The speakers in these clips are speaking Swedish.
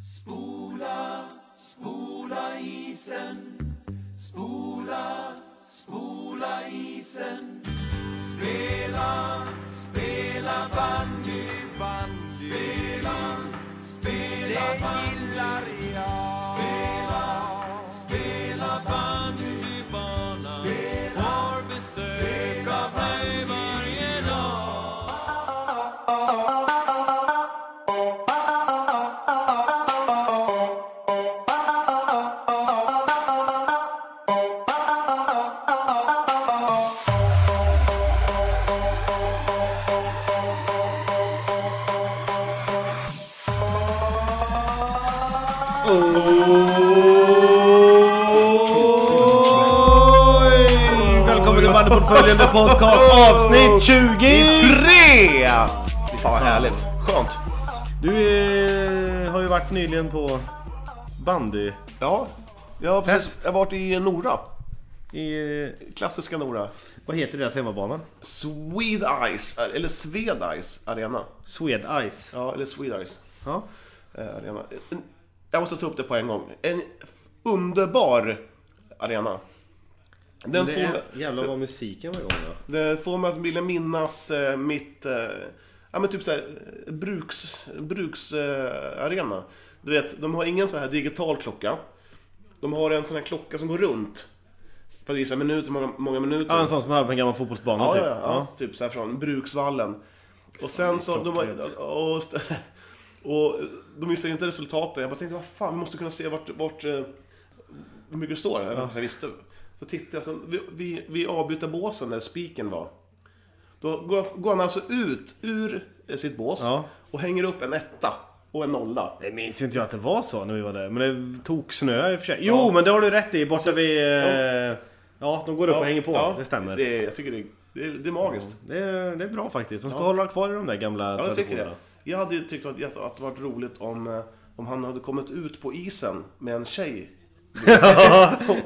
Spola, spola isen. Spola, spola isen. Spela, spela bandy, bandy. Spela, spela bandy. Det gillar jag. Spela, spela bandybanan. Har besök av mig varje dag. Oj! Välkommen till Bandyportföljande podcast avsnitt 23! Fan vad härligt. Skönt. Du eh, har ju varit nyligen på bandy Ja, jag har, precis, Fest. jag har varit i Nora. i... eh, Klassiska Nora. Vad heter deras hemmabana? Swede Ice, eh, eller Swed Ice Arena. Swed Ice. Ja, eller Swede Ice Ja. eh, Arena. En- Jag måste ta upp det på en gång. En f- underbar arena. Den Det får, är, jävlar vad musiken var igång då. den får mig att vilja minnas eh, mitt... eh, Ja men typ såhär bruks, bruksarena. Du vet, de har ingen så här digital klocka. De har en sån här klocka som går runt. För att visa minuter, hur många, många minuter. Ja, en sån som hade på en gammal fotbollsbana Ja, typ. ja, ja, typ så här från Bruksvallen. Och sen så... De, har- och, och de visade inte resultaten. Jag bara tänkte, vad fan, vi måste kunna se vart... vart eh, hur mycket det står. Eller så jag visste. Så tittade jag, sen, vi, vi, vi avbyter båsen där spiken var. Då går, går han alltså ut ur eh, sitt bås Ja. och hänger upp en etta och en nolla. Det minns inte jag att det var så när vi var där. Men det tog snö i och för sig. Jo, men det har du rätt i. Borta vid... eh, Ja, de går upp och hänger på. Ja, det stämmer. Det, är- jag tycker det, det, är- det är magiskt. Det är, det är bra faktiskt. De ska hålla kvar i de där gamla Ja, jag tycker traditionerna. det. Jag hade ju tyckt att det hade varit roligt om, eh, om han hade kommit ut på isen med en tjej.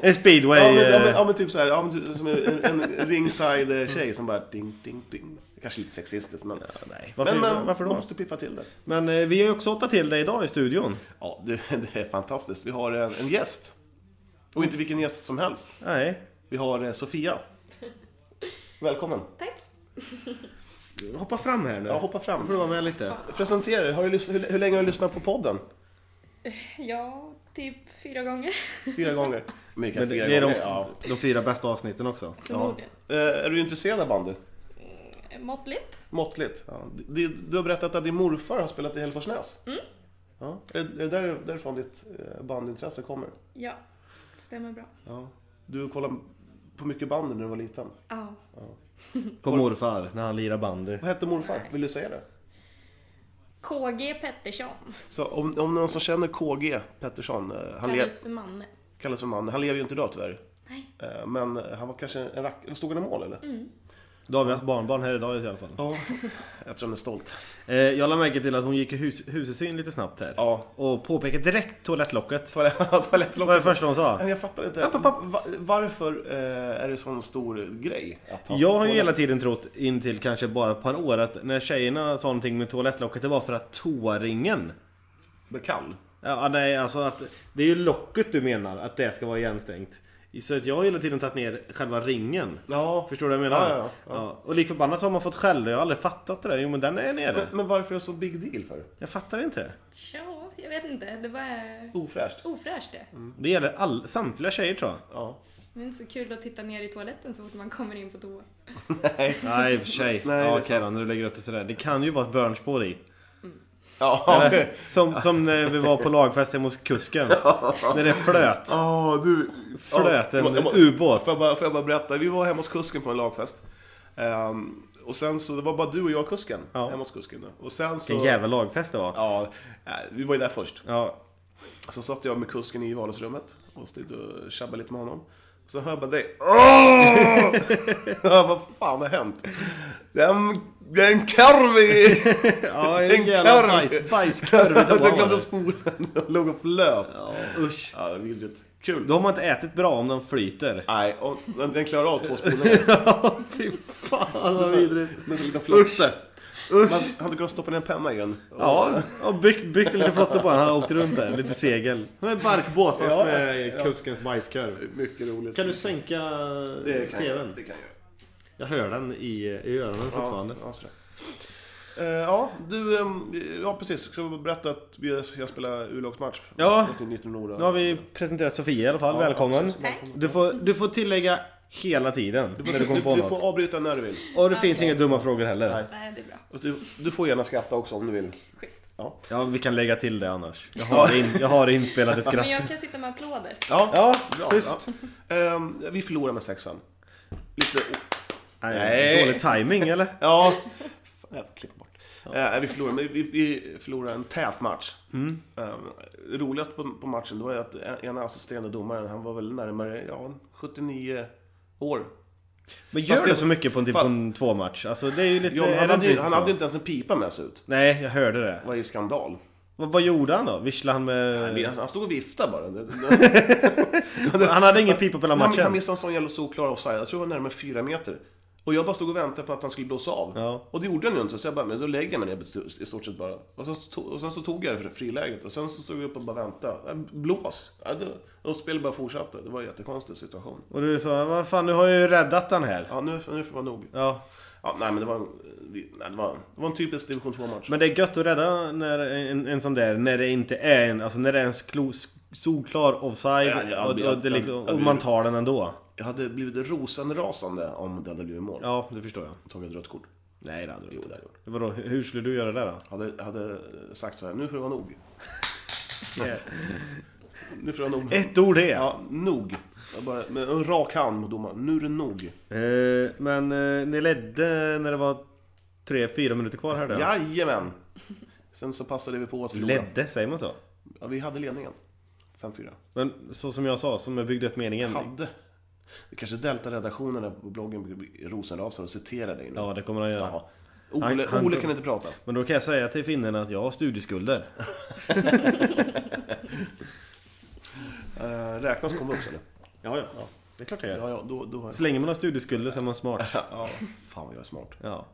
en speedway. Ja men, ja, men, eh, ja, men typ så här, ja, men typ, som en, en ringside-tjej som bara ding, ding, ding. Kanske lite sexistiskt men... nej. Varför, men, men varför man då? måste piffa till det. Men eh, vi har ju också åtta till dig idag i studion. Ja, det, det är fantastiskt. Vi har en, en gäst. Och inte vilken gäst som helst. Nej. Vi har eh, Sofia. Välkommen. Tack. Hoppa fram här nu. Ja, hoppa Då fram. får du vara med lite. Presentera dig. Har du lys- hur, hur länge har du lyssnat på podden? Ja, typ fyra gånger. Fyra gånger. Mycket, Men det, fyra det är de, gånger. Ja. de fyra bästa avsnitten också. Förmodligen. Eh, Är du intresserad av bandy? Måttligt. Måttligt. Ja. Du, du har berättat att din morfar har spelat i Hälleforsnäs. Ja. Är, är det där, därifrån ditt eh, bandintresse kommer? Ja, stämmer bra. Ja. Du kollade på mycket bandy när du var liten. Ja. På morfar, när han lirar bandy. Vad hette morfar? Vill du säga det? KG Pettersson Så om, om någon som känner KG Pettersson, eh, han le- kallas för Manne. kallas för man, han lever ju inte idag tyvärr. Nej. Eh, Men eh, han var kanske en rack... eller Stod han i mål eller? Då har vi hans barnbarn här idag i alla fall. Ja. Jag tror han är stolt. Eh, jag la märke till att hon gick i hus, husesyn lite snabbt här. Ja. Och påpekade direkt toalettlocket. Toalett- Vad var det Toalettlocket. första hon sa? Nej, Jag fattar inte. Va- Varför eh, är det sån stor grej? Att ha Jag har ju toalett- hela tiden trott, in till kanske bara ett par år, att när tjejerna sa någonting med toalettlocket, det var för att toaringen Blir kall? Ja, nej, alltså att det är ju locket du menar, att det ska vara igenstängt. Så att jag har hela tiden tagit ner själva ringen. Ja. Förstår du vad jag menar? Ja, ja, ja. och lik förbannat så har man fått skäll och jag har aldrig fattat det där. Jo men den är nere. Men, men varför är det så big deal för? Jag fattar inte det. Tja, jag vet inte. Det var eh, Ofräscht. ofräscht det. Det gäller all, samtliga tjejer tror jag. Ja. Det är inte så kul att titta ner i toaletten så fort man kommer in på toa. Nej i och för sig. Nej, det är ja, okej då, sant. när du lägger upp det sådär. Det kan ju vara ett börnspår i. Ja. Som, som när vi var på lagfest hemma hos kusken. När det flöt. Oh, du. Flöt Ja, jag en må- jag må- ubåt. Får jag, bara, får jag bara berätta? Vi var hemma hos kusken på en lagfest. Ehm, och sen så, det var bara du och jag och kusken. Ja. Hemma hos kusken. Då. Och sen så... Vilken jävla lagfest det var. Ja, eh, vi var ju där först. Ja. Så satt jag med kusken i vardagsrummet och stod och tjabbade lite med honom. Sen hör jag bara dig. Vad fan har hänt? Det är en, det är en korv i... Ja, En en jävla korv. bajs, bajskorv i Jag toan var glömde det. spolen och låg och flöt. Ja, usch. Ja, det är vidrigt. Kul. Då har man inte ätit bra om den flyter. Nej, och den klarar av två spolningar. Fy fan vad Men så en liten flotte. Man hade kunnat stoppa ner en penna i den. Ja, och byggt, byggt en liten flotta på den. Han åkte runt där. Lite segel. Det var en barkbåt fast Ja, med ja. kuskens bajskorv. Mycket roligt. Kan du sänka det kan jag, TVn? det kan jag göra. Jag hör den i, i öronen fortfarande. Ja, ja, sådär. Eh, ja, du, ehm, ja precis. Ska jag berätta att vi- jag spelar U-lagsmatch? Ja. Mot 1900. Nu har vi presenterat Sofia i alla fall. Ja, Välkommen. precis. Tack. Du får, du får tillägga hela tiden Du när får, du kommer du, på du något. får avbryta när du vill. Och det finns inga dumma frågor heller. Nej. Nej, det är bra. Och Du, du får gärna skratta också om du vill. Schysst. Ja, vi kan lägga till det annars. Jag har, det in, jag har det inspelade Men skratt. jag kan sitta med applåder. Ja, Ja, bra. schysst. Ja. Ehm, vi förlorar med 6-5. Lite... Nej. Nej. Dålig timing eller? Ja. Fan, jag får klippa bort. Eh, vi förlorar, men vi, vi förlorar en tät match. Mm. Ehm, roligast på, på matchen, det var ju att en- ena assisterande domaren, han var väl närmare, ja, 79 år. Men Fast gör det- det så mycket på en, typ, Fan. på en tvåmatch? Alltså det är ju lite... Ja, men är han, det hade ju, inte han så? hade ju inte ens en pipa med sig ut. Nej, jag hörde det. Det var ju skandal. Vad, vad gjorde han då? Visslade han med... Han- Han stod och viftade bara. Det- det- Han hade ingen pipa på hela Han, han matchen. missade en sån jävla solklar offside. Jag tror det var närmare fyra meter. Och jag bara stod och väntade på att han skulle blåsa av. Ja. Och det gjorde han ju inte. Så jag bara, men då lägger jag mig ner i stort sett bara. Och sen, så tog, och sen så tog jag det för friläget. Och sen så stod jag upp och bara väntade. Äh, Blås! Ja, det, och spelet bara fortsatte. Det var en jättekonstig situation. Och du sa, vad fan, du har ju räddat den här. Ja, nu, nu får det vara nog. Ja. Ja, nej, men det var, en- vi- nej, det var, det var en typisk division 2-match. Men det är gött att rädda när, en, en sån där, när det inte är en, alltså när det är en sklo, solklar offside Ja, ja, och, ja, och, det, ja, liksom, ja, och vi- man tar den ändå. Jag hade blivit rosenrasande om det hade blivit mål. Ja, det förstår jag. Tagit rött kort. Nej, det hade du Jo, inte. det hade jag gjort. Vadå, hur skulle du göra det då? Hade, hade sagt så här, nu får det vara nog. Nu får det vara nog. Ett ord är. Ja, nog. Jag bara, med en rak hand mot domaren. Nu är det nog. Eh, men eh, ni ledde när det var 3-4 minuter kvar här då? Jajamän! Sen så passade vi på att förlora. Ledde, säger man så? Ja, vi hade ledningen. 5-4. Men så som jag sa, som jag byggde upp meningen. Hade. Det kanske Delta-redaktionerna på bloggen rosenrasar och citerar dig nu. Ja, det kommer han göra. Ja. Han- Ole, han- Ole kan inte prata. Men då kan jag säga till finnarna att jag har studieskulder. Eh, räknas komvux eller? Ja, ja. Det är klart jag gör. Ja, ja, då, då har jag... Så länge man har studieskulder så är man smart. Ja, fan vad jag är smart. Ja.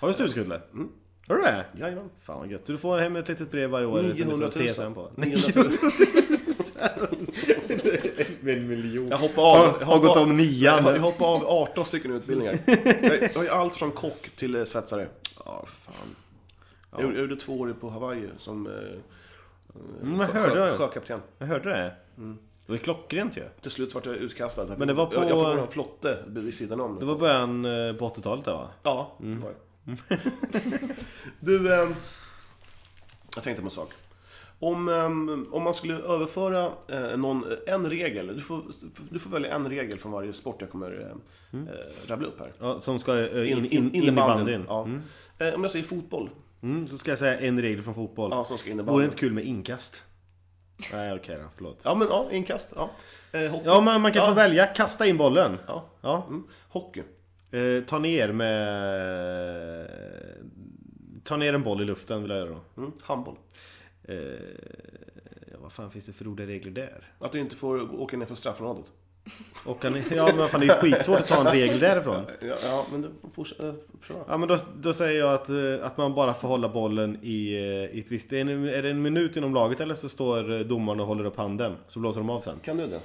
Har du studieskulder? Mm. Har du det? Jajamän. Fan vad gött. Du får hem ett litet brev varje år. 900 000. som du CSN på. 900 000. En miljon. Jag hoppar av. Har- jag har hoppar gått av- om nian. Jag har- jag hoppar av 18 stycken utbildningar. Jag jag har ju allt från kock till eh, svetsare. Ja, fan. Jag, gjorde, jag gjorde två år på Hawaii som eh, Mm, jag hörde det. sjökapten. Jag hörde det. Det var ju klockrent ju. Till slut vart jag utkastad. Men det var på- Jag, jag fick vara en flotte vid sidan om. Det var Mm. början eh, på 80-talet där va? Ja, det var det. Mm. Du, ehm, jag tänkte på en sak. Om, ehm, om man skulle överföra eh, någon, en regel, du får, du får välja en regel från varje sport jag kommer eh, Mm. eh, rabbla upp här. Ja, som ska eh, in, in, in, i innebandyn, bandyn. Ja. Eh, Om jag säger fotboll, Mm, så ska jag säga en regel från fotboll. ja, som ska in i Vore det bandyn. inte kul med inkast? Nej okej då, förlåt. Ja, men ja, inkast. Ja. Eh, hockey. Ja man, man kan Ja. få välja, kasta in bollen. Ja. Ja. Mm. Hockey. Eh, ta ner med... Ta ner en boll i luften vill jag göra då. Mm. Handboll. Eh, ja, vad fan finns det för roliga regler där? Att du inte får åka ner för straffområdet. Och kan, ja men vad fan det är ju skitsvårt att ta en regel därifrån. Ja, ja men du fortsätt. eh, pröva. Ja men då, då säger jag att, eh, att man bara får hålla bollen i, eh, i ett visst... Är det, är det en minut inom laget eller så står eh, domaren och håller upp handen? Så blåser de av sen. Kan du det?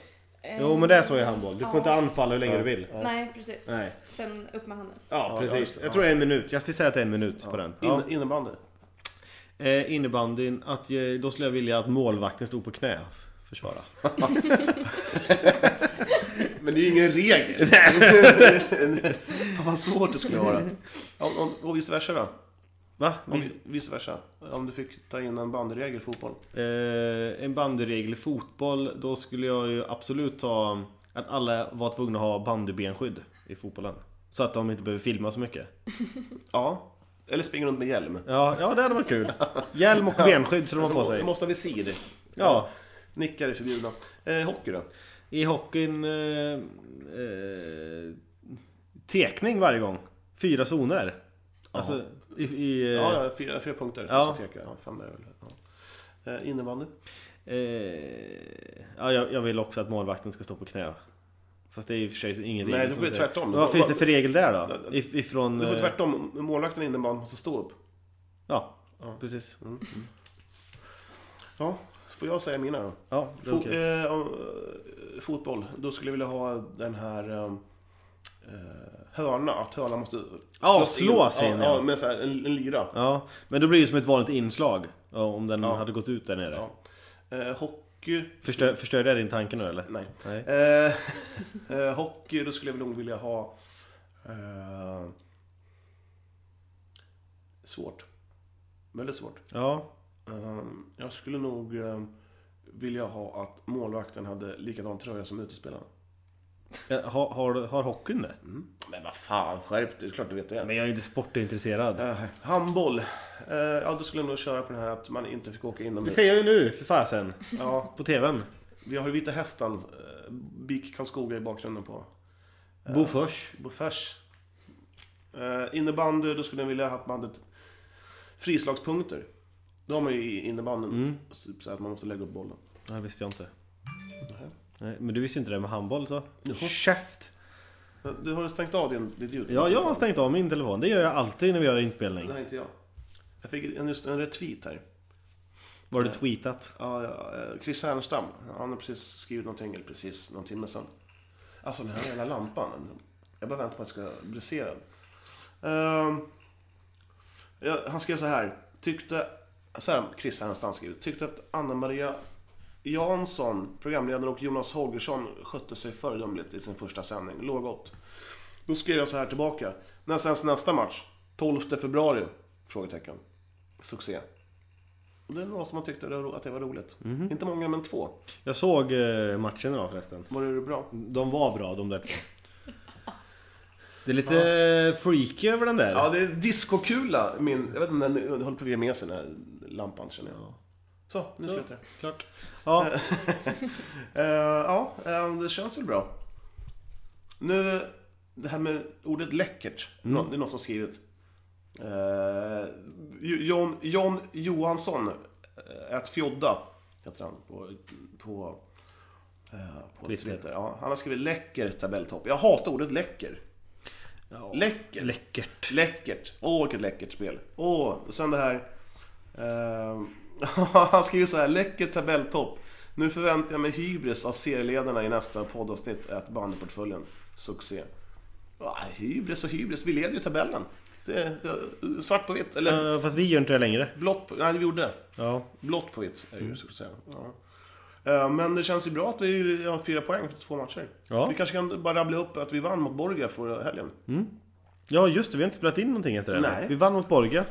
Jo men det är så i handboll. Du får Eh, Ja. inte anfalla hur länge du vill. Nej, precis. Nej. Sen upp med handen. Ja, Ja, precis. just det. Jag tror det är en minut. Jag skulle säga att det är en minut på den. In, Ja. Innebandy. Eh, innebandyn, att, eh, då skulle jag vilja att målvakten stod på knä och försvara. Men det är ju ingen regel. Fan vad svårt det skulle vara. Om, om, och vice versa då? Va? Om, vice versa. Om du fick ta in en bandyregel i fotboll. Eh, en bandyregel i fotboll, då skulle jag ju absolut ta att alla var tvungna att ha bandybenskydd i fotbollen. Så att de inte behöver filma så mycket. Ja. Eller springa runt med hjälm. Ja, ja det hade varit kul. Hjälm och benskydd så de har på Du sig. måste ha visir. Ja, Nickar är förbjudna. Eh, hockey då? i hockeyn... Eh, eh, tekning varje gång. Fyra zoner. Alltså, i... i eh, Ja, ja, fyra, fyra punkter. Ja. Ja. ja fem är det väl. Ja. Eh, innebandy? Eh, ja, jag, jag vill också att målvakten ska stå på knä. Fast det är i och för sig ingen Nej, regel då som blir det säger- tvärtom. Men vad finns det för regel där då? Ja, If, ifrån... Det var eh, tvärtom. Målvakten inneband måste stå upp. Ja, Ja. precis. Ja, får jag säga mina då? Ja, det är Fo- okej. eh, om, eh, fotboll. Då skulle jag vilja ha den här eh, eh, hörna. Att hörna måste Ja, slås in. slås in, Ja, ja. ja. med så här, en, en lyra. Ja, men då blir det ju som ett vanligt inslag. Ja, om den Ja. hade gått ut där nere. Ja. Eh, hockey. Förstör, förstörde jag din tanke nu eller? Nej. Nej. Eh, eh, hockey, då skulle jag väl nog vilja ha... Eh, svårt. Väldigt svårt. Ja, Eh, jag skulle nog eh, vilja ha att målvakten hade likadan tröja som utespelaren. Mm. Eh, Har, har, har hockeyn det? Men vad fan, skärp dig. Det är klart du vet det. Men jag är ju inte sportintresserad. Eh, handboll. Eh, ja, då skulle jag nog köra på den här att man inte fick åka Det inomhus. säger jag ju nu, för fasen. Ja, På TVn. vi har Vita Hästen, eh, BIK Karlskoga i bakgrunden på. Eh, Bofors. Bofors. Eh, innebandy, då skulle jag vilja att man hade ett frislagspunkter. Då har man ju i innebandyn. Mm. Typ så här att man måste lägga upp bollen. Nej, visste jag inte. Nähä. Nej, men du visste inte det med handboll så? Käft! Men Eh, Du har ju stängt av din, ditt ljud? Ja, jag har stängt av min telefon. Det gör jag alltid när vi gör inspelning. Det här är inte jag. Jag fick en, just en retweet här. Var det tweetat? Ja, ja, eh, Chris Härnstam. Han har precis skrivit någonting, eller precis, någon timme sedan. Alltså den här jävla lampan. Jag bara väntar på att den ska brisera. Ehm, ja, han skrev så här. Tyckte, så här har Chris Härnstam skrivit. Tyckte att Anna Maria Jansson, programledaren och Jonas Holgersson skötte sig föredömligt i sin första sändning. Låg åt. Då skrev jag så här tillbaka. När sänds nästa match? 12 februari? Frågetecken. Succé. Och det är några som har tyckt det var ro- att det var roligt. Inte många, men två. Jag såg eh, matchen idag förresten. Var det bra? De var bra de där två. Det är lite eh, freaky över den där. Ja, det är diskokula. Min, jag vet inte, den håller på att vrida med sig den här lampan känner jag. Så, nu Så, slutar det. klart. Ja, Eh, ja, eh, det känns väl bra. Nu, det här med ordet läckert. Nå- Det är någon som har skrivit. Eh, John, John Johansson, eh, ett fjodda, heter han på, på, eh, på Twitter. Twitter. Ja, han har skrivit läcker tabelltopp. Jag hatar ordet läcker. Ja. Läcker. läckert. Läckert. Åh, vilket läckert spel. Åh, och sen det här... ehm, han skriver så här, läcker tabelltopp. Nu förväntar jag mig hybris av serieledarna i nästa poddavsnitt, ett bandyportföljen. Succé. Ah, hybris och hybris, vi leder ju tabellen. Det är, eh, svart på vitt, eller Eh, Fast vi gör inte det längre. blått på... Nej, vi gjorde. Ja. Blått på vitt, är det Mm. ju, så att säga. Ja. Eh, Men det känns ju bra att vi har fyra poäng för två matcher. Ja. Vi kanske kan bara rabbla upp att vi vann mot Borga förra helgen. Ja just det, vi har inte spelat in någonting efter det. Nej. Vi vann mot Borga.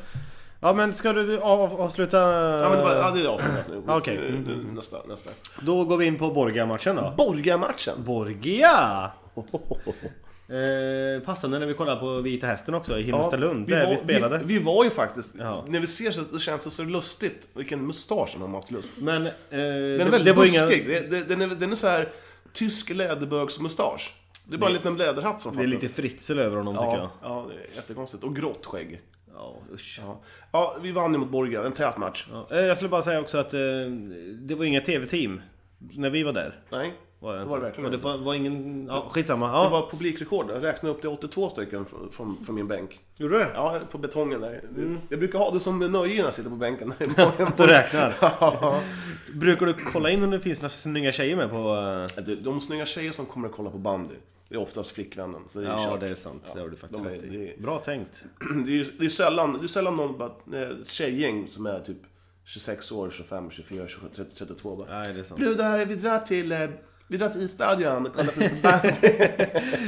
Ja men ska du av, avsluta... Ja, men det var, ja, det är avslutat nu. Ah, okej. Nu- nu- Nästa, nästa. Då går vi in på Borga-matchen då. Borgarmatchen. Borgia! Eh, passande när vi kollar på Vita Hästen också i Himmelstalund, där vi spelade. Vi, vi var ju faktiskt, Ja. när vi ser så det känns det så lustigt. Vilken mustasch han har Mats Lust. Men... Eh, Den är väldigt buskig. Det- det- Den är, den är så här tysk läderbögsmustasch. Det är bara en liten läderhatt som Det är fattas. lite fritzel över honom tycker jag. ja, ja, det är jättekonstigt. Och grått skägg. Ja, usch. Ja. ja, vi vann ju mot Borga. En tät match. Ja. Eh, Jag skulle bara säga också att eh, det var inga TV-team när vi var där. Nej, Var det, det inte. var det verkligen Men det inte. var, var ingen... Ja, skitsamma. Det Ja. var publikrekord. Jag räknade upp till 82 stycken från, från, från min bänk. Gjorde du det? Ja, på betongen där. Jag brukar ha det som nöje när jag sitter på bänken. Du Mm. räknar. Ja. Brukar du kolla in om det finns några snygga tjejer med på... eh, Du, de snygga tjejer som kommer att kolla på bandy, det är oftast flickvännen. Så det är ju Ja, kört. det är sant. Ja, Det har du faktiskt de är- rätt i. det är- Bra tänkt. Det är, ju- det är sällan, det är sällan någon bara, eh, ett tjejgäng som är typ 26 år, 25, 24, 27, 30, 32 bara. Nej, det är sant. Brudar, vi drar till, eh, vi drar till Isstadion och kollar på lite bandy.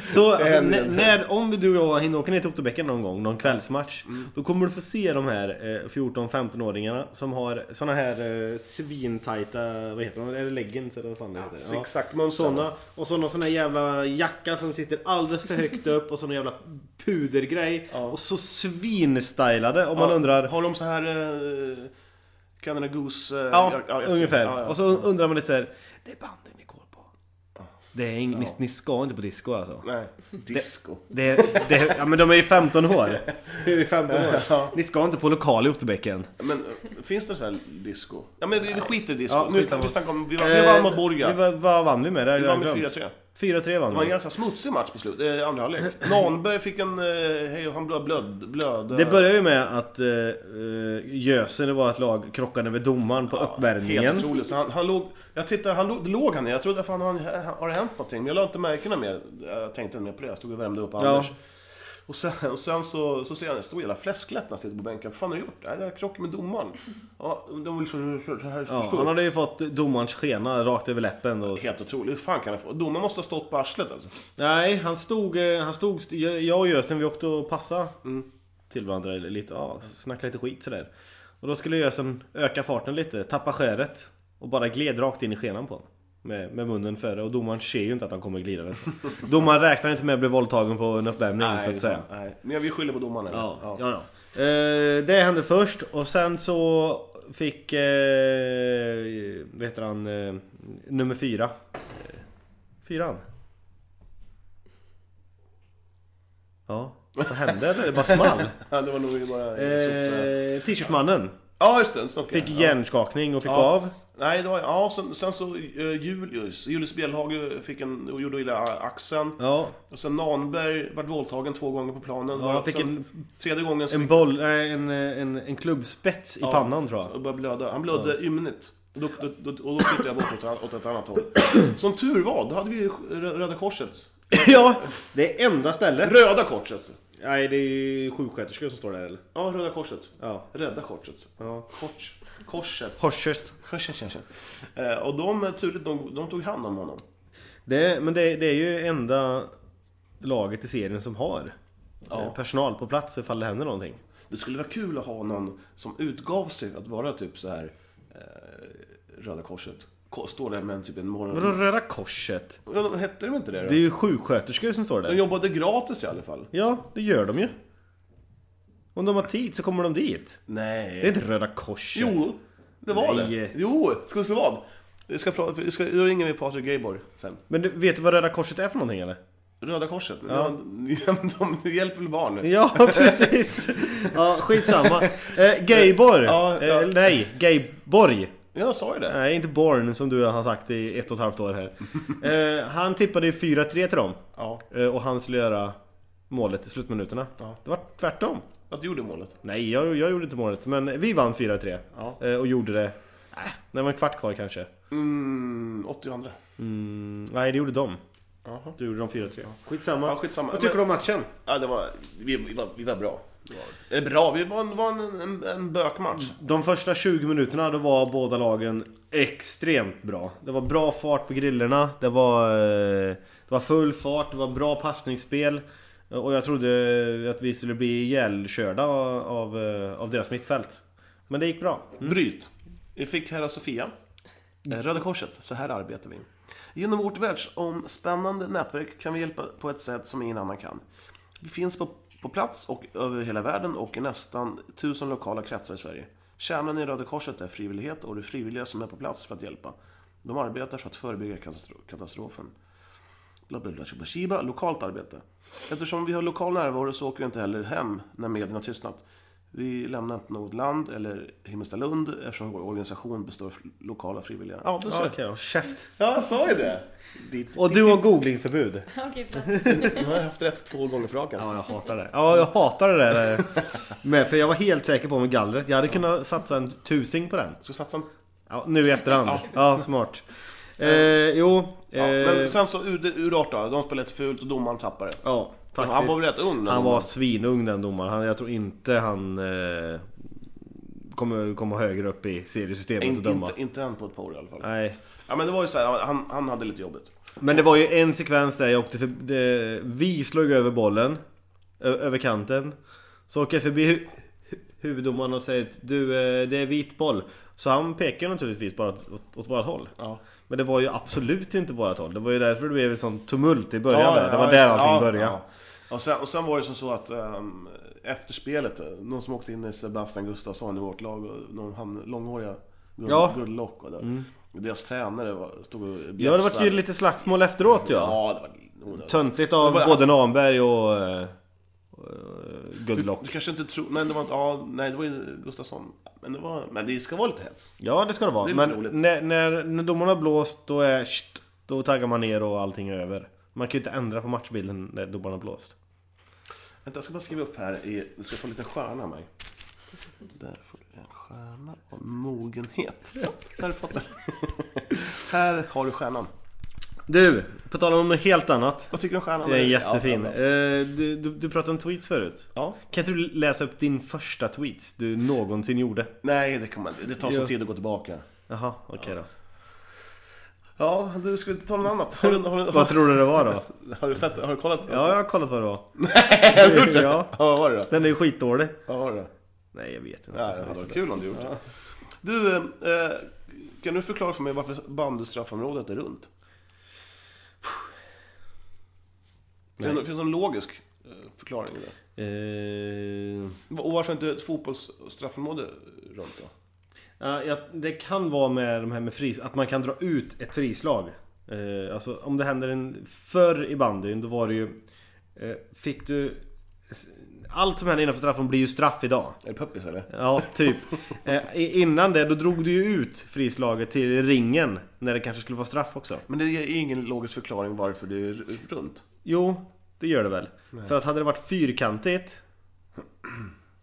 Så alltså, händer när, inte. när, om vi- du och jag hinner åka ner till Otterbäcken någon gång, någon kvällsmatch. Mm. Då kommer du få se de här eh, 14-15-åringarna som har såna här eh, svintajta, vad heter de? Är det leggings eller vad fan det heter? Zigzagmönster. Såna, och så någon sån här jävla jacka som sitter alldeles för högt upp och så någon jävla pudergrej. Ja. Och så svinstylade om man Ja, undrar Har de så här eh, Canada Goose... eh, Ja, jag- jag- ungefär. ja, ja. Och så undrar man lite så här, Det är banden ni går på. Det är ing, ni, ni ska inte på disco alltså. Nej, disco. Det, det, ja men de är ju 15 år. De är ju 15 år. Ni ska inte på lokal i Otterbäcken. Men eh, finns det så här disco? Ja men vi, vi skiter i disco. Ja, nu skitsamma. vi snackar om, vi, var- vi vann mot Borga. Eh, vi Eh, var- Vad vann vi med? Det har vi jag vann med glömt. 4-3. 4-3 vann Det var en vi. ganska smutsig match på slutet, eh, andra halvlek. Nahnberg fick en... eh, Hej, han blöd, blöd, blöd. Det började ju med att eh, eh, Gösen, det var ett lag, krockade med domaren på uppvärmningen. Helt otroligt. Så han, han låg... Jag tittade, han låg, det låg han ner. Jag trodde, fan har, han, har det hänt någonting? Men jag lade inte märkena mer. Jag tänkte inte mer på det. Jag stod och värmde upp Anders. Och sen, och sen så, så ser jag en stor jävla fläskläpp när han sitter på bänken. Vad fan har du gjort? Nej, det här krockar med domaren. Ja, de vill så, så, så här Ja, förstår. han hade ju fått domarens skena rakt över läppen. Och... Helt otroligt. Hur fan kan det få? Domaren måste ha stått på arslet alltså. Nej, han stod... eh, Han stod st- jag- jag och Gösen, vi åkte och passa till varandra lite. Ja, snacka lite skit sådär. Och då skulle Gösen öka farten lite, tappa skäret och bara gled rakt in i skenan på honom. Med, med munnen före och domaren ser ju inte att han kommer glida. domaren räknar inte med att bli våldtagen på en uppvärmning så att säga. Nej. Men jag vill skylla på domaren. eller? Ja, ja. ja, Eh, det hände först och sen så fick, eh, vad heter han, eh, nummer fyra. Eh, Fyran? Ja, vad hände? Det bara small. Ja, det var nog bara... Eh... Eh, T-shirtmannen Ja, just det. en snockare. fick Ja. hjärnskakning och fick Ja. av. Nej, det var, ja, sen, sen så eh, Julius, Julius Bjelhage fick en, och gjorde illa axeln. Ja, Och sen Nahnberg vart våldtagen två gånger på planen. Ja, han fick sen, Tredje gången så en boll, nej, en, en, en klubbspets i Ja. pannan tror jag. och började blöda. Han blödde ymnigt. Och då, då, då, och då tittade jag bort åt, an- åt ett annat håll. Som tur var, då hade vi ju Rö- Röda Korset. ja, det är enda stället. Röda Korset! Nej, det är ju sjuksköterskor som står där eller? Ja, Röda Korset. Ja. Rädda Korset. ja. Kors. Korset. Horshurst. Korset, korset. Eh, och de, eh, tydligt, de, de tog hand om honom. Det, men det, det är ju enda laget i serien som har eh, personal på plats ifall det händer någonting. Det skulle vara kul att ha någon som utgav sig att vara typ så här eh, Röda Korset. Ko- Står där med en typ en morgon... Vadå Röda Korset? Ja, de- hette de inte det då? Det är ju sjuksköterskor som står De där. jobbade gratis i alla fall. Ja, det gör de ju. Om de har tid så kommer de dit. Det är Nej. inte Röda Korset. Jo, det var det. Nej. Jo, ska vi vad? Jag ska prata, jag ska, då ringer vi Patrik Gayborg sen. Men du, vet du vad Röda Korset är för någonting eller? Röda Korset, ja. de, de hjälper väl barn? Ja, precis. ja, skitsamma. Eh, Gayborg. Ja, ja. Eh, nej, Gayborg. Jag sa ju det. Nej, inte Born som du har sagt i ett och ett halvt år här. Eh, han tippade ju 4-3 till dem. Ja. Eh, Och han skulle göra målet i slutminuterna. Ja. Det var tvärtom. Att du gjorde målet. Nej, jag, jag gjorde inte målet. Men vi vann 4-3. Ja. Eh, Och gjorde det... Äh, när det var en kvart kvar kanske. Mm, 82. Mm, nej, det gjorde de. Jaha. Du gjorde de 4-3. Skitsamma. Ja, skitsamma. Vad tycker du om matchen? Ja, det var, vi, vi, var, vi var bra. Det var, bra, vi var, en- var en, en, en bökmatch. De första 20 minuterna då var båda lagen extremt bra. Det var bra fart på grillorna, det var, eh, det var full fart, det var bra passningsspel. Eh, Och jag trodde att vi skulle bli ihjälkörda av, eh, av deras mittfält. Men det gick bra. Bryt. Vi fick Herra Sofia. Eh, Röda Korset, så här arbetar vi. Genom vårt världsomspännande nätverk kan vi hjälpa på ett sätt som ingen annan kan. Vi finns på, på plats och över hela världen och i nästan tusen lokala kretsar i Sverige. Kärnan i Röda Korset är frivillighet och de frivilliga som är på plats för att hjälpa. De arbetar för att förebygga katastro- katastrofen. Bla, bla, bla, shiba, shiba, lokalt arbete. Eftersom vi har lokal närvaro så åker vi inte heller hem när medierna tystnat. Vi lämnar inte något land eller Himmelstalund eftersom vår organisation består av lokala frivilliga. Ja, du Ja, ser. okej då. Käft! Ja, jag sa ju det. Dit. Och du har googlingförbud. Okej, bra. Nu har jag haft rätt två gånger på raken. Ja, jag hatar det. Ja, jag hatar det där. eh, Med, för jag var helt säker på med gallret. Jag hade kunnat satsa en tusing på den. Ska satsa en... Ja, nu i efterhand. Ja, smart. Eh, jo. ja, eh, men sen så ur- urart då. De spelade lite fult och domaren tappade. Ja, Men faktiskt. han var väl rätt ung? när Han de- var svinung den domaren. Han, jag tror inte han eh, kommer komma högre upp i seriesystemet och inte, döma. inte, inte än på ett par år i alla fall. Nej. Ja, men det var ju så här, han, han hade lite jobbigt. Men det var ju en sekvens där jag åkte för, det, Vi slog över bollen. ö- Över kanten. Så åker jag förbi hu, hu, huvuddomaren och säger Du, eh, det är vit boll. Så han pekar naturligtvis bara åt, åt, åt vårat håll. Ja. Men det var ju absolut inte vårat håll. Det var ju därför det blev ett sånt tumult i början där. Det var ja, där just- allting ja, började. ja. Och, sen, och sen var det som så att um, efter spelet, eh, någon som åkte in i Sebastian Gustafsson i vårt lag, och någon han, långhåriga Gull- Ja. Mm. Gulllock och där. Deras tränare var, stod och Ja, det bjäfsade. var ju lite slagsmål efteråt ja. Ja, det var onödigt. Töntigt av Men vad- både Nahnberg och... Uh, good Du luck. kanske inte tror... Nej, det var inte... Ja, nej, det var ju Gustafsson. Men det var... Men det ska vara lite hets. Ja, det ska det vara. Det är lite Men roligt. när, när, när domarna har blåst, då är... Sht, Då taggar man ner och allting är över. Man kan ju inte ändra på matchbilden när domaren har blåst. Vänta, jag ska bara skriva upp här. I, du ska få en liten stjärna av mig. Där får du en stjärna av mogenhet. Så, där har du fått den. här har du stjärnan. Du, på tal om något helt annat. Vad tycker du om stjärnan? Det är jättefin. Ja, ja, Eh, Du, du, du pratade om tweets förut. ja. Kan inte du läsa upp din första tweets du någonsin gjorde? Nej, det, kommer, det tar sån Ja. tid att gå tillbaka. Jaha, okej då. Ja, du ska vi ta något annat? Har du, har, du, Vad har, tror du det var då? har du sett? Har du kollat? Ja, jag har kollat vad det var. ja. Ja, Vad var det då? den är ju skitdålig. Vad var det då? Nej, jag vet inte. Ja, det hade varit kul om du gjort det. Du, eh, eh, kan du förklara för mig varför bandystraffområdet är runt? Finns det finns en logisk eh, förklaring i det? Eh, Och varför inte ett fotbollsstraffområde runt då? ja, jag, det kan vara med de här med fris... Att man kan dra ut ett frislag. Eh, alltså om det händer en... Förr i bandyn då var det ju... Eh, fick du... Allt som händer innanför straffen blir ju straff idag. Är det puppis eller? Ja, typ. Eh, i- innan det, då drog du ju ut frislaget till ringen. När det kanske skulle vara straff också. Men det är ingen logisk förklaring varför det är r- runt. Jo, det gör det väl. För att hade det varit fyrkantigt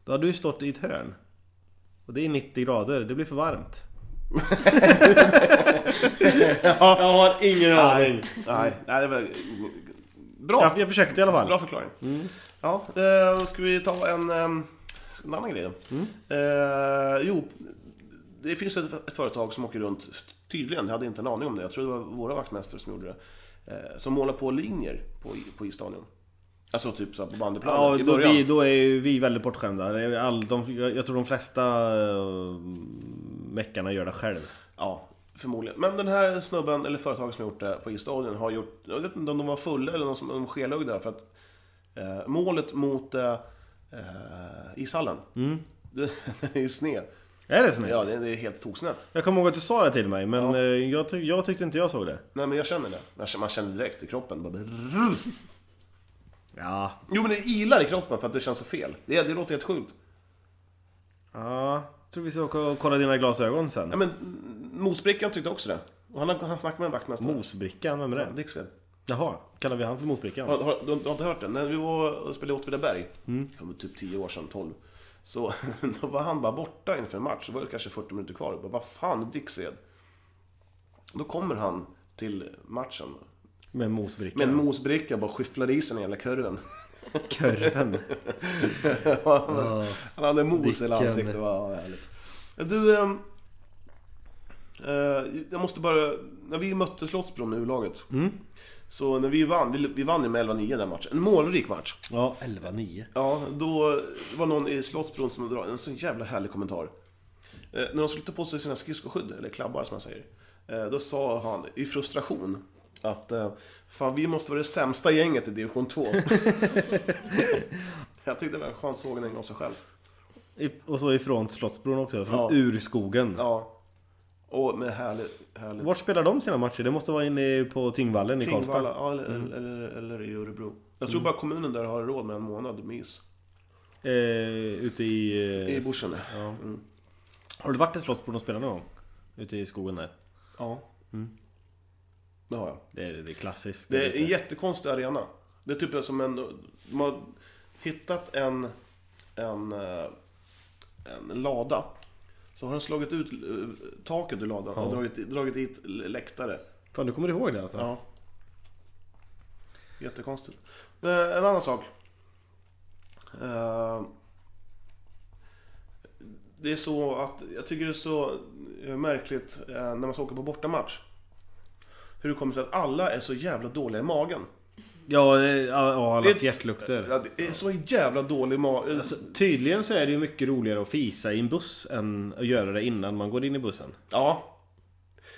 Då hade du ju stått i ett hörn Och det är 90 grader, det blir för varmt Jag har ingen aning Nej, nej det var... Bra! jag, jag försökte i alla fall Mm. Bra förklaring. Ja, eh, då ska vi ta en, eh, en annan grej då. Mm. Eh, jo, det finns ett, ett företag som åker runt, tydligen, jag hade inte en aning om det, jag tror det var våra vaktmästare som gjorde det, eh, som målar på linjer på, på isstadion. Alltså typ så här på bandyplanen Ja, i då, början. vi, då är ju vi väldigt bortskämda Det är ju all, de, jag, jag tror de flesta uh, meckarna gör det själv Ja, förmodligen. Men den här snubben, eller företaget som har gjort det på isstadion, har gjort, jag vet inte om de var fulla eller någon som de skelögd där, för att eh, målet mot eh, eh, ishallen, Mm. den är ju sned. Är det snett? Ja, det, det är helt toksnett. Jag kommer ihåg att du sa det till mig men eh, jag, ty- jag tyckte inte jag såg det Nej, men jag känner det. Jag känner- Man känner direkt i kroppen. Bara... brrrr. Ja, Jo, men det ilar i kroppen för att det känns så fel. Det, det låter helt sjukt. ja tror vi ska åka och kolla dina glasögon sen Ja, men mosbrickan tyckte också det. Och han, han snackade med en vaktmästare. Mosbrickan, vem är Ja, det? Dixved. Jaha, kallar vi han för Mosbrickan? Har, har, du, du har inte hört det? När vi var och spelade i Åtvidaberg, för typ 10 år sedan, 12. Så då var han bara borta inför en match, så var det kanske 40 minuter kvar. Jag Bara, Vad fan, Dixved? Då kommer han till matchen Med Mosbrickan? med en mosbricka och bara skyfflar i sig den jävla kurven. Körven? han, han hade mos i hela Dicken. ansiktet, vad härligt. Du, ehm, eh, jag måste bara... När vi mötte Slottsbron med U-laget. Så när vi vann, vi, vi vann ju med 11-9 den matchen. En målrik match. Ja, 11-9 Ja, då var någon i Slottsbron som drar en så jävla härlig kommentar. Eh, när de skulle ta på sig sina skridskoskydd, eller klabbar som man säger, eh, då sa han i frustration att eh, fan vi måste vara det sämsta gänget i division 2. jag tyckte det var en skön sågning av sig själv. I- Och så ifrån Slottsbron också, från Ja. urskogen Ja. Och med härlig, härlig... Vart spelar de sina matcher? Det måste vara inne på Tingvallen i Tingvalla, Karlstad ja, eller, eller, eller i Örebro. Jag tror bara kommunen där har råd med en månad med is. eh, Ute i... Eh, I bushen. ja. mm. Har du varit i Slottsbron och spelat någon gång? Ute i skogen där? Ja. Det har jag. Det är, det är klassiskt Det är lite- en jättekonstig arena. Det är typ som en... De har hittat en... En, eh, en lada. Så har de slagit ut eh, taket ur ladan och Ja. dragit, dragit dit läktare. Fan du kommer ihåg det alltså? Ja. Jättekonstigt. Eh, En annan sak. Eh, Det är så att jag tycker det är så eh, märkligt eh, när man ska åka på bortamatch. Hur det kommer sig att alla är så jävla dåliga i magen. Ja, det- ja, ja, alla Det- fjärtlukter Ja, Det är så jävla dålig ma- eh, alltså, Tydligen så är det ju mycket roligare att fisa i en buss än att göra det innan man går in i bussen Ja.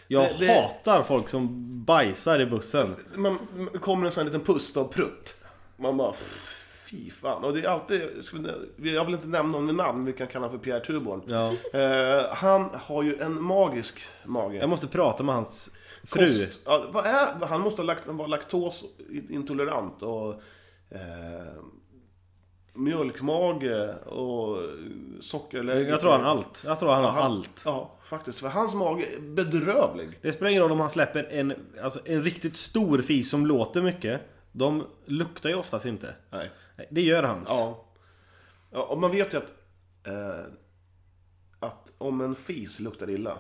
Jag Det- det- hatar folk som bajsar i bussen. Man, man kommer en sån här liten pust av prutt. Man bara, "Pff, fy fan. Och det är alltid, jag, skulle, jag vill inte nämna någon med namn, vi kan kalla honom för Pierre Tuborn. Ja. Eh, han har ju en magisk mage. Jag måste prata med hans fru. Kost- ja, vad är, han måste ha lakt, vara laktosintolerant och... Eh, mjölkmage och sockerläge. Jag tror han har allt. Jag tror han har allt. Ja, faktiskt. För hans mage är bedrövlig. Det spelar ingen roll om han släpper en, alltså en riktigt stor fis som låter mycket. De luktar ju oftast inte. Nej. Nej, Det gör hans. Ja. ja och man vet ju att, eh, att om en fis luktar illa,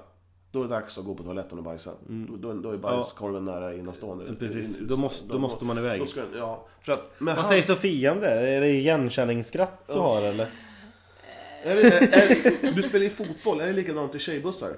då är det dags att gå på toaletten och bajsa. Då, då, då är bajskorven nära innanstående. Mm. Precis. Då måste- då måste man iväg. Då ska, ja, för att, men Vad han- säger Sofia om det? Är det igenkänningsskratt du har eller? är det, är, du spelar ju fotboll, är det likadant i tjejbussar?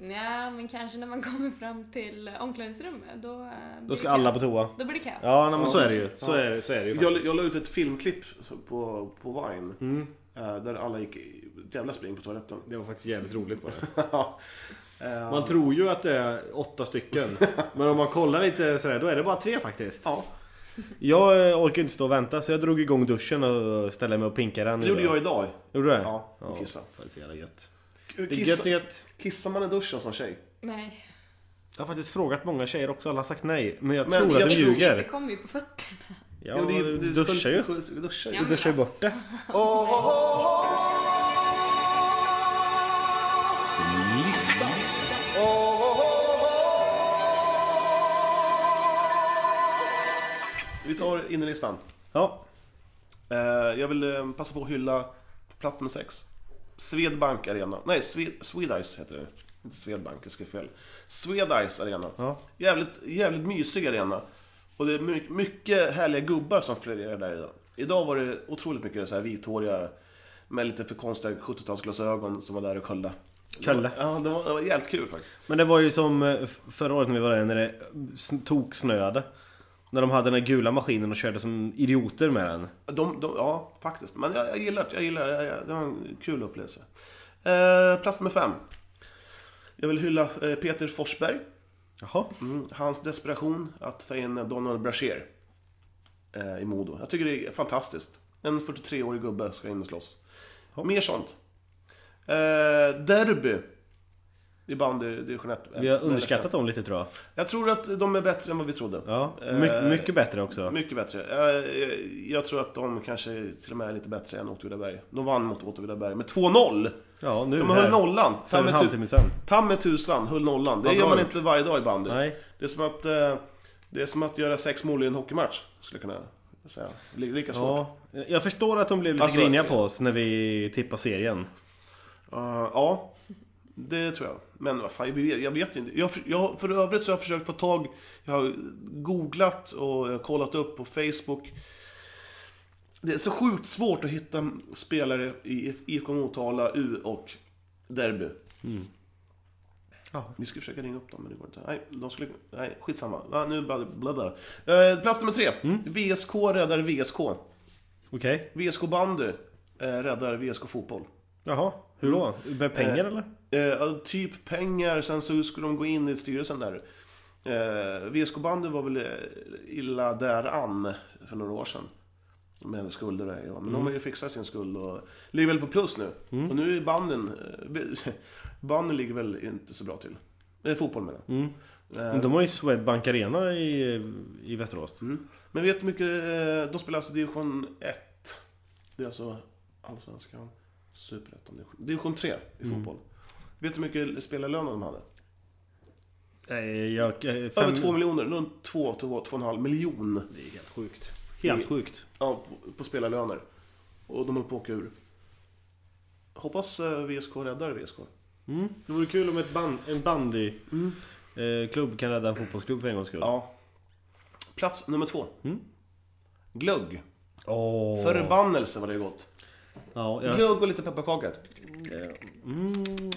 Nja, men kanske när man kommer fram till omklädningsrummet. Då, eh, Då blir det ska kö. alla på toa. Då blir det kö. Ja, nej, men så är det ju. Så är, det- så är det ju. Jag, jag la ut ett filmklipp på, på Vine, eh, där alla gick i ett jävla spring på toaletten. Mm. Det var faktiskt jävligt roligt var det. Eh, Man tror ju att det är åtta stycken. Men om man kollar lite sådär, då är det bara tre faktiskt. ja, Jag eh, orkar inte stå och vänta så jag drog igång duschen och ställde mig och pinkade den. det gjorde idag. jag idag. Gjorde du det? Ja, och kissa. Fan, så jävla gött. Det är gött, det Kissa, är gött. kissar man i duschen som tjej? Nej. Jag har faktiskt frågat många tjejer också, alla har sagt nej. Men jag Men tror jag att de tror- ljuger. Det kommer ju på fötterna. Ja, du duschar ju. Du duschar ju. Ja. Du duschar ju bort det. Vi tar innerlistan. Ja. Eh, jag vill eh, passa på att hylla på plats nummer 6. Swedbank Arena. Nej, Swed- Swedice heter det. Inte Swedbank, jag skrev fel. Swedice Arena. Ja. Jävligt, jävligt mysig arena. Och det är my- mycket härliga gubbar som florerar där idag. Idag var det otroligt mycket så här vithåriga med lite för konstiga 70-talsglasögon som var där och kollade. Kolla. Ja, det var, det var jävligt kul faktiskt. Men det var ju som eh, f- förra året när vi var där när det sn- toksnöade. När de hade den här gula maskinen och körde som idioter med den. De, de, ja, faktiskt. Men jag, jag gillar det. Jag gillar det. Jag- Det var en kul upplevelse. Eh, plats nummer fem. Jag vill hylla eh, Peter Forsberg. Jaha. Mm, hans desperation att ta in Donald Brashear eh, i Modo. Jag tycker det är fantastiskt. En 43-årig gubbe ska in och slåss. Mer sånt. Eh, derby. I bandy division 1. Vi har underskattat dem lite tror jag. Jag tror att de är bättre än vad vi trodde. Ja. My- Eh, mycket bättre också. Mycket bättre. Eh, jag- Jag tror att de kanske till och med är lite bättre än Åtvidaberg. De vann mot Åtvidaberg med 2-0! Ja, nu De här. höll nollan. För en Tamme tu- halvtimme sedan. Tamme tusan, höll nollan. Det Vad gör bra man gjort. inte varje dag i bandy. Nej. Det är som att, eh, det är som att göra sex mål i en hockeymatch, skulle jag kunna säga. Li- Lika svårt. Ja. Jag förstår att de blev lite Alltså, griniga på oss när vi tippade serien. Eh, ja, det tror jag. Men vad fan, jag vet- jag vet inte. Jag, jag, för övrigt så har jag försökt få tag, jag har googlat och eh, kollat upp på Facebook. Det är så sjukt svårt att hitta spelare i IFK Motala, U och Derby. Ja. Vi ska försöka ringa upp dem, men det går inte. Nej, de skulle, nej skitsamma. Ja, nu bla, bla, bla. Eh, plats nummer tre. VSK räddar VSK. Okej. VSK bandy eh, räddar VSK fotboll. Jaha. Mm. Hur då? Med pengar eller? Eh, ja, typ pengar, sen så skulle de gå in i styrelsen där. Eh, VSK bandy var väl eh, illa däran för några år sedan. Med skulder och hej och hå. Men de har ju fixat sin skuld och ligger väl på plus nu. Och nu är banden, eh, banden ligger väl inte så bra till. Eh, fotboll menar jag. Eh, Men De har ju Swedbank Arena i, i Västerås. Mm. Men vet du hur mycket, eh, de spelar alltså division 1. Det är alltså Allsvenskan, Superettan, division- division 3 i fotboll. Vet du hur mycket spelarlöner de hade? Nej, Jag, eh, fem... Över två miljoner, runt två, två, två och en halv miljon Det är helt sjukt. Helt I- sjukt. ja, på, på spelarlöner. Och de håller på att åka ur. Hoppas eh, VSK räddar VSK. Mm. Det vore kul om ett band, en bandyklubb eh, klubb kan rädda en fotbollsklubb för en gångs skull. Ja. Plats nummer två. Glögg. Mm. Åh. Förbannelse var det gott. Ja, jag... Glögg och lite pepparkaka. mm.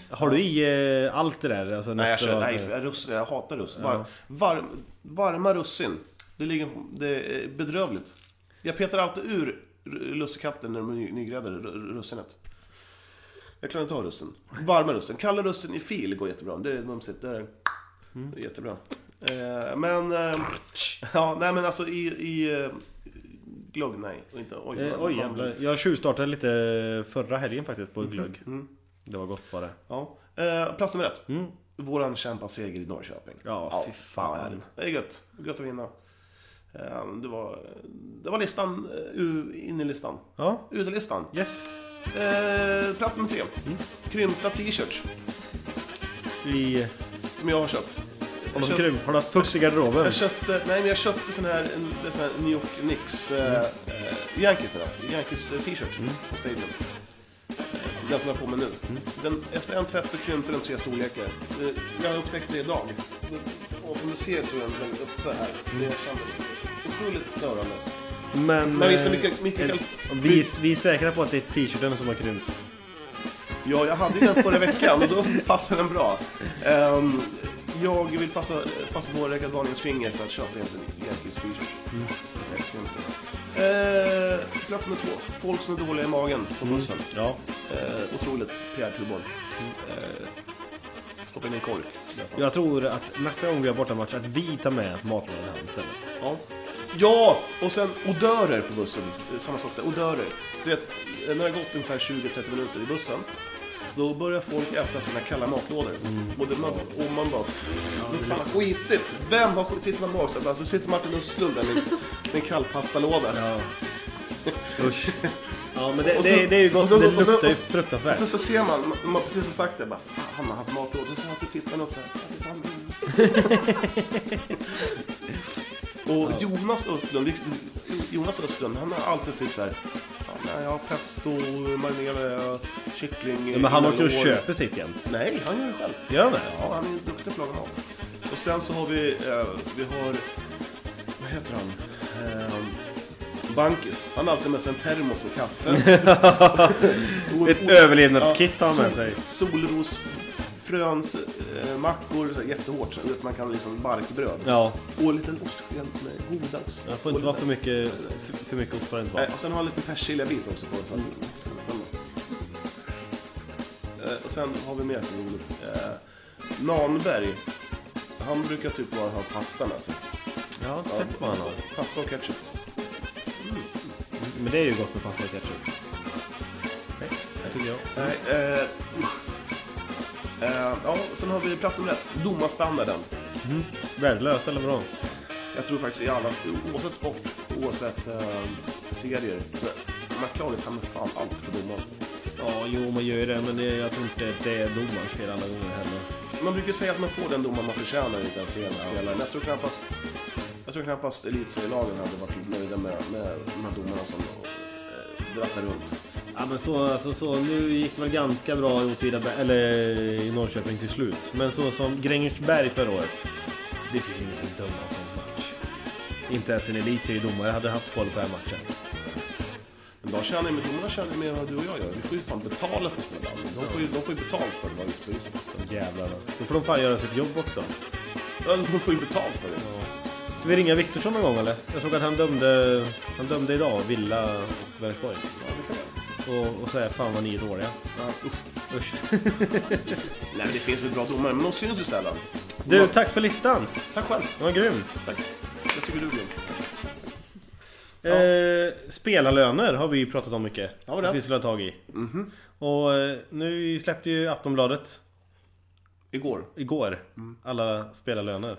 Har du i eh, allt det där? Alltså, Nej, jag, nötter och kör, allt nej det där? jag, russin, jag hatar russin. Var, varm, varma russin. Det, ligger, det är bedrövligt. Jag petar alltid ur r- lussekatten när de är ny- nygräddade, r- r- russinet. Jag klarar inte av russin. Varma russin. Kalla russin i fil går jättebra. Det är mumsigt. Det är Mm. det är jättebra. Eh, men... Eh, ja, nej men alltså i... i eh, glögg, nej. Och Inte, oj, Eh, oj jävlar. Jag tjuvstartade lite förra helgen faktiskt Mhm. på glögg. Mm. Det var gott var det. Ja. Eh, plats nummer ett. Våran kämpaseger i Norrköping. Ja, fy fan. vad härligt. Det är gött. Gött att vinna. Eh, Det var, det var listan, eh, u- in i listan. Ja, Utelistan. yes. Eh, plats nummer tre. Mm. Krympta t-shirts. I... Som jag har köpt. Har Jag, de köpt, krympt? Har de fucks i garderoben? jag köpte, nej men jag köpte sån här, en- vet du, den här New York Knicks, eh, eh, Yankees menar jag. Yankees eh, t-shirt på Stadium. Eh, Den som jag har på mig nu. Den, efter en tvätt så krympte den tre storlekar. Eh, Jag upptäckte det idag. Och som du ser så är den den uppe här. Det jag känner. Otroligt störande. Men... Men visst, eh, Mikael- Mikael- är- vi, vi är säkra på att det är t-shirten som har krympt. Ja, jag hade ju den förra veckan och då passade den bra. Ehm, jag vill passa, passa på att räcka varningens finger för att köpa en Yankees t-shirt. Okej, det är inte bra. Eh, Plats nummer två. Folk som är dåliga i magen på bussen. Ja. Eh, otroligt. Pierre Tuborg. Eh, stoppa in i en kork. nästan. Jag tror att nästa gång vi har bortamatch att vi tar med matlådan hem istället. Ja. ja, och sen odörer på bussen. Eh, Samma sak där, odörer. Du vet, när det har gått ungefär 20-30 minuter i bussen, då börjar folk äta sina kalla matlådor. Och, det, man, och man bara... Vad fan skitigt! Vem har skitit? Tittar man bak så här, så sitter Martin Östlund där med, med en kallpastalåda. Ja. Usch. Ja men det, Och sen- det, det är ju och gott. sen- det och sen- luktar ju och sen- Och fruktansvärt. sen så ser man, man- man precis har sagt det, bara fan han har hans matlåda. Och så, så tittar han upp där. "Ja, det är han." Och Jonas Östlund, vi- Jonas Östlund, han har alltid typ så här. "Fan, nej, Jag har pesto, marinerade kyckling. men han åker ju och lår." köper sitt igen. Nej, han gör det själv. Gör han det? Ja, han är duktig på att laga mat. Och sen så har vi, eh, vi har, vad heter han? Eh, Bankis. Han har alltid med sig en termos med kaffe. Och- Ett och- överlevnadskit har han med sol- sig. Solrosfröns eh, mackor, så här, jättehårt så att man kan liksom barkbröd. Ja, Och en liten ostsked med goda ost. det får inte vara för mycket, för, för mycket ost får det inte vara. Nej, och sen har han lite persiljabit också på så Mm. att Eh, Och sen har vi mer som är roligt. Eh, Nanberg. Han brukar typ bara ha pasta med sig. Jag har inte sett vad han har. Pasta och ketchup. Men det är ju gott med pasta och ketchup. Nej, det tycker jag. Nej, eh, eh, ja, sen har vi platt nummer ett. Domarstandarden. Värdelös eller vadå? Jag tror faktiskt i alla, oavsett sport, oavsett eh, serier, så man klagar fan med fan allt på domaren. Ja, jo man gör ju det men jag tror inte det är domarens fel alla gånger heller. Man brukar säga att man får den domaren man förtjänar i den serien spelaren. Jag tror knappast, jag tror knappast elitserielagen hade varit nöjda med, med de här domarna som eh, rattar runt. Ja men så, alltså, så nu gick det väl ganska bra i Åtvidaberg, eller i Norrköping till slut. Men så som Grängesberg förra året. Det finns ingen som dömer en sån match. Inte ens en elitseriedomare hade haft koll på den här matchen. Men de tjänar ju med, domarna tjänar ju mer än vad du och jag gör. Vi får ju fan betala för att spela band. De får ju, de får ju betalt för att vara ute på isen. Jävlar då. Då får de fan göra sitt jobb också. Ja, De får ju betalt för det. Ska vi ringa Viktorsson någon gång eller? Jag såg att han dömde, han dömde idag Villa och Vänersborg. Ja, det kan jag. Och, och säga fan vad ni är dåliga. Ja, usch. Usch. Nej, men det finns väl bra domare, men de syns ju sällan. Du, tack för listan! Tack själv. Den var grym! Tack. Jag tycker du är grym. Eh, spelarlöner har vi ju pratat om mycket. Har vi Mhm. det? Att vi skulle ha tag i. Och eh, nu släppte ju Aftonbladet Igår. igår Mm. alla spelarlöner.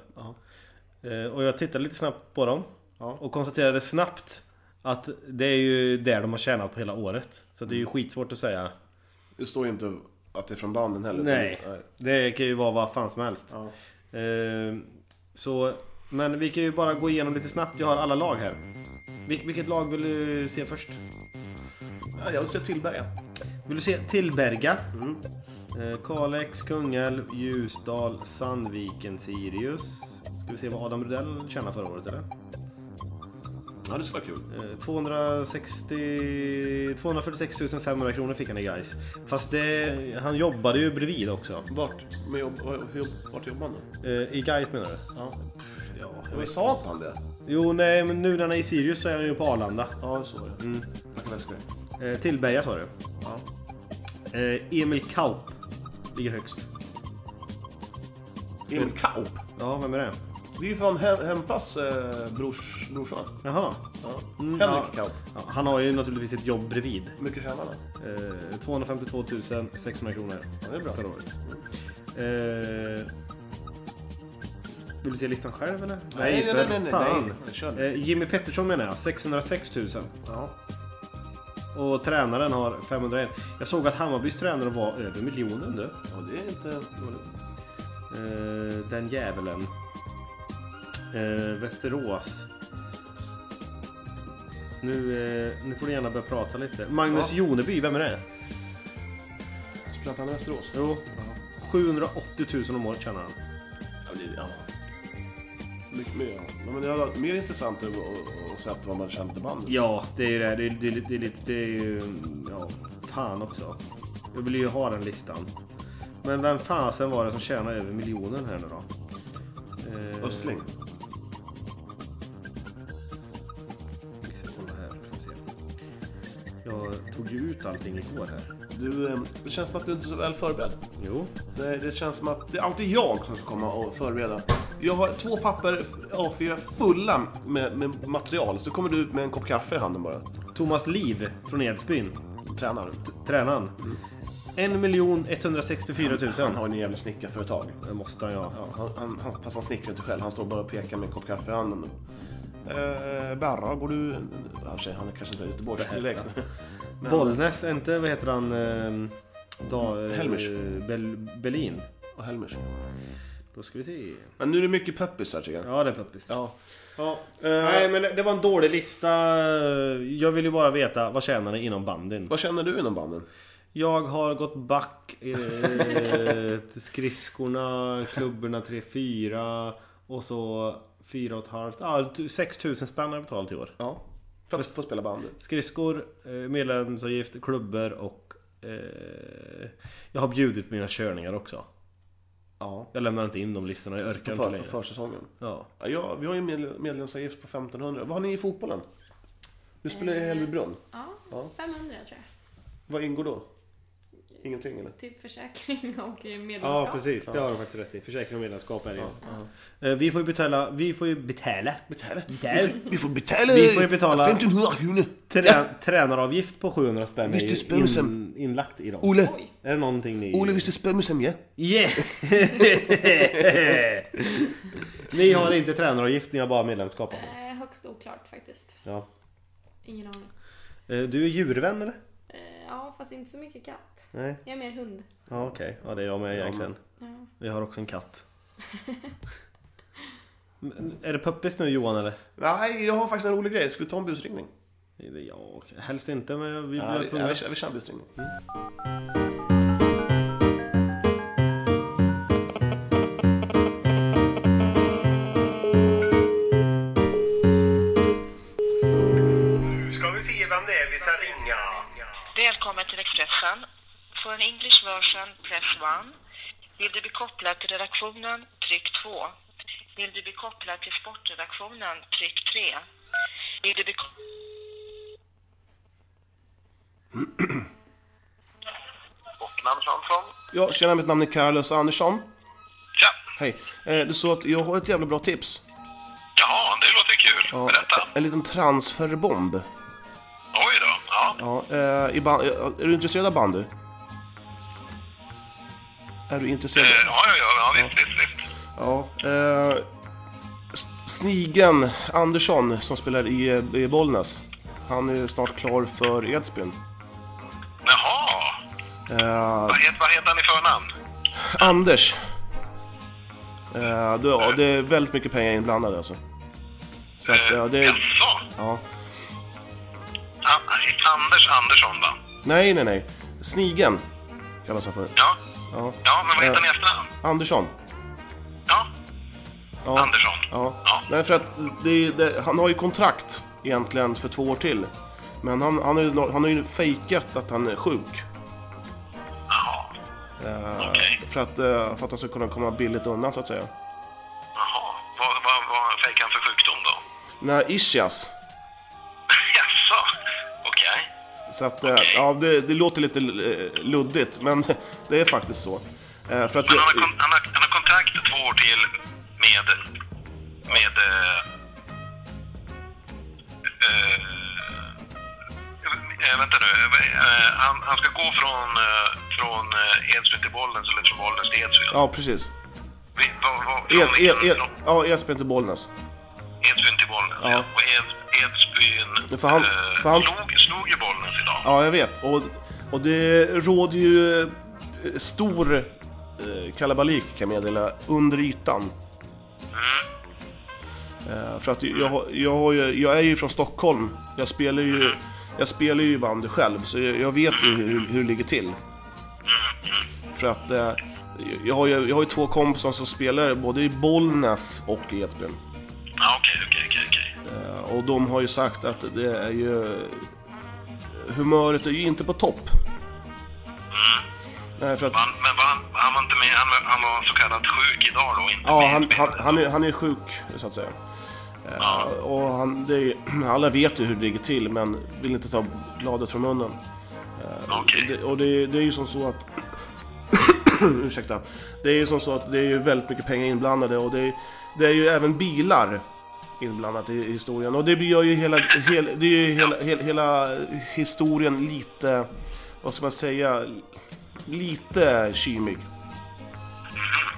Eh, och jag tittade lite snabbt på dem. Ja. Och konstaterade snabbt att det är ju där de har tjänat på hela året. Så det är ju Mm. skitsvårt att säga. Det står ju inte att det är från banden heller. Nej, utan- det kan ju vara vad fan som helst. Ja. Eh, så, men vi kan ju bara gå igenom lite snabbt. Jag har alla lag här. Vil- vilket lag vill du se först? Ja, jag vill se Tillberga. Vill du se Tillberga? Mm. Eh, Kalix, Kungälv, Ljusdal, Sandviken, Sirius. Ska vi se vad Adam Rudell tjänade förra året eller? Ja, det skulle vara kul. Eh, 260, 246 500 kronor fick han i guys. Fast det, han jobbade ju bredvid också. Vart, med jobb, vad- hur, jobb- vart jobbar han nu? Eh, I guys menar du? Ja. Ja. Men sa inte han det? Jo nej men nu när han är i Sirius så är han ju på Arlanda. Ja, så är det. Mm. Jag kan läsa det. Eh, Tillberga sa du. Ja. Eh, Emil Kaup ligger högst. Emil Kaup. Ja, vem är det? Det är ju fan Hem- Hempas eh, brors, brorson. Jaha. Ja. Mm, Henrik ja. Kaup. Ja, han har ju naturligtvis ett jobb bredvid. Hur mycket tjänar han? då? Eh, 252 600 kronor Ja, det är bra. förra året. Eh, Vill du se listan själv eller? Nej, nej, för nej, nej, nej, fan. nej. Kör nu. Eh, Jimmy Pettersson menar jag, 606 000. Ja. Och tränaren har 501. Jag såg att Hammarbys tränare var över miljonen du. ja, det är inte dåligt. Eh, den djävulen. Eh, Västerås. Nu, eh, nu får du gärna börja prata lite. Magnus Ja. Joneby, vem är det? Spelat han i Västerås? Jo, 780 000 om året tjänar han. Ja, det, ja. Mycket mer. Ja. Ja, Men det var mer intressant att att- att sett vad man kände till bandet. Ja, det är ju det. här. Det är, det är, det är, lite- det är ju... Ja, fan också. Jag vill ju ha den listan. Men vem fasen var det som tjänade över miljonen här nu då? Eh, Östling. vi ska kolla här, får vi se. Jag tog ju ut allting igår här. Du, eh, det känns som att du inte är så väl förberedd. Jo. Det, det känns som att det är alltid jag som ska komma och förbereda. Jag har två papper A4 fulla med, med material. Så kommer du ut med en kopp kaffe i handen bara. Thomas Liv från Edsbyn. Tränar. Tränaren. 1 164 000. Han har ju en jävla snickarföretag. Det måste han ja. Ja, han, han, han, fast han snickrar inte själv. Han står bara och pekar med en kopp kaffe i handen. Eh, Berra, går du... Ja, i och för sig, han är kanske inte Göteborgsdialekt. Men- Bollnäs, inte vad heter han? Eh, da, eh, Helmers. Bel, Berlin. Och Helmers. Då ska vi se. Men nu är det mycket peppisar tycker jag. Ja, det är Peppis. Ja. Ja. Eh, Nej, men det det var en dålig lista. Jag vill ju bara veta, vad tjänar ni inom bandyn? Vad känner du inom banden? Jag har gått back eh, till skridskorna, klubborna 3-4 och så 4,5. Ja, ah, 6 000 spänn har jag betalat i år. Ja. För att få spela bandy. Skridskor, eh, medlemsavgift, klubbor och... Eh, jag har bjudit på mina körningar också. Ja. Jag lämnar inte in de listorna, jag orkar På, inte för, på längre. försäsongen. Ja. Ja, jag- vi har ju en medle- medlemsavgift på 1500. Vad har ni i fotbollen? Du spelar i Hällbybrunn. Ja, Ja. 500 tror jag. Vad ingår då? Ingenting eller? Typ försäkring och eh, medlemskap. Ja precis, det har de faktiskt rätt i. Försäkring och medlemskap är det ju. Eh, Vi får ju betala... Vi får ju betala. Betala. Betala. Vi får betala. Vi får ju betala. 1500 kronor. Trä, tränaravgift på 700 spänn är Visst, du ju spelar sen. in, inlagt i dem. Ole. Oj. Är det någonting ni... Ole, visst du spelar med Semje? Yeah! ni har inte tränaravgift, ni har bara medlemskap. alltså. Eh, högst oklart faktiskt. Ja. Ingen aning. Eh, Du är djurvän eller? Eh, ja, fast inte så mycket katt. Nej. Jag är mer hund. Ja okej, ja det är jag med egentligen. Ja. Jag har också en katt. Men är det puppis nu Johan eller? Nej, jag har faktiskt en rolig grej. Ska vi ta en busringning? Ja, helst inte men vi Ja, blir vi, ja, tvungna. vi, kör, vi kör en busringning. ska vi se vem det är vi ska ringa. Välkommen till Expressen. För en English version, press 1. Vill du bli kopplad till redaktionen, tryck 2. Vill du bli kopplad till sportredaktionen, tryck 3. Vill du bli kopplad... Bockman Fransson. Ja, tjena, mitt namn är Carlos Andersson. Tja. Hej. Eh, det är så att jag har ett jävla bra tips. Ja, det låter kul. Ja, Berätta. En liten transferbomb. Oj då. Ja. Ja, eh, i ban- eh, är du intresserad av bandy? Är du intresserad? Eh, Ja, ja, ja, ja visst, visst, visst. Ja. Eh, S- Snigen Andersson som spelar i, eh, i Bollnäs. Han är ju snart klar för Edsbyn. Jaha. Eh, Vad heter, vad heter han i förnamn? Anders. Eh, du, ja, det är väldigt mycket pengar inblandade alltså. Så att, ja, det är, Eh, Jaså? ja. A- Anders Andersson, va? Nej, nej, nej. Snigen kallas han för. Ja. Ja. Ja, men vad heter Eh. han i efternamn? Andersson. Ja. Ja. Andersson. Ja. Ja. Nej, för att det, är- det, han har ju kontrakt egentligen för två år till. Men han, han, har, ju, han har ju fejkat att han är sjuk. Jaha. Eh, Okej. för, att, eh, för att han ska kunna komma billigt undan så att säga. Jaha. Vad, vad, vad fick han för sjukdom då? Nej, ischias. Jaså? Okej. Så att, eh, ja, det, det låter lite eh, luddigt, men det är faktiskt så. Eh, för att Men han har, kon- han, har, han har kontrakt två år till med... Med... eh, eh, eh, vänta nu. Eh, han, han ska gå från, eh, från eh, Edsbyn till Bollnäs eller från Bollnäs till Edsbyn. Ja, precis. Vi- vad- vad- Ed, från Ed, Ed, 1908 ja, Edsbyn till Bollnäs. Edsbyn till Bollnäs. Ja. Ja. Och Ed, Edsbyn För han- eh, för han- slog, slog ju Bollnäs idag. Ja, jag vet. Och, och det råder ju eh, stor eh, kalabalik kan jag meddela, under ytan. Eh, För att jag, har- jag, har ju, jag är ju från Stockholm. Jag spelar ju, jag spelar ju i bandy själv, så jag, jag vet ju hur, hur det ligger till. För att eh, jag har ju, jag har ju två kompisar som spelar både i Bollnäs och i Edsbyn. Ja, okej, okej, okej, okej. Eh, Och de har ju sagt att det är ju... Humöret är ju inte på topp. Nej, för att... Men, men var han, han var inte med, han, var- han var så kallat sjuk idag då? Inte Ja, med i han, han, spelet. han, är, han är sjuk, så att säga. Eh, Och han, det är, ju- alla vet ju hur det ligger till, men vill inte ta bladet från munnen. Okej. Det, och det, det är ju som så att... ursäkta. Det är ju som så att det är ju väldigt mycket pengar inblandade och det är, det är ju även bilar inblandat i i historien. Och det gör ju hela, hel, det är ju hela, hel, hela historien lite, vad ska man säga, lite kymig.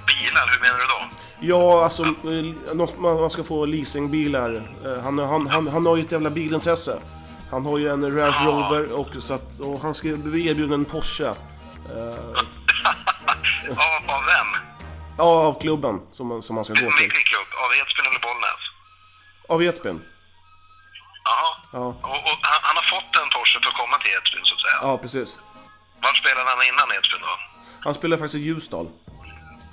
Bilar, hur menar du då? Ja, alltså eh, något- man man ska få leasingbilar. Eh, Han, han, han, han har ju ett jävla bilintresse. Han har ju en Range Rover och, så att, och han ska bli erbjuden en Porsche. Av, av vem? Ja, av klubben som, som han ska gå till. Vilken klubb? Av Edsbyn eller Bollnäs? Av Edsbyn. Jaha. Ja. Och, och han, han har fått en Porsche för att komma till Edsbyn så att säga. Ja, precis. Vart spelade han innan Edsbyn då? Han spelar faktiskt i Ljusdal.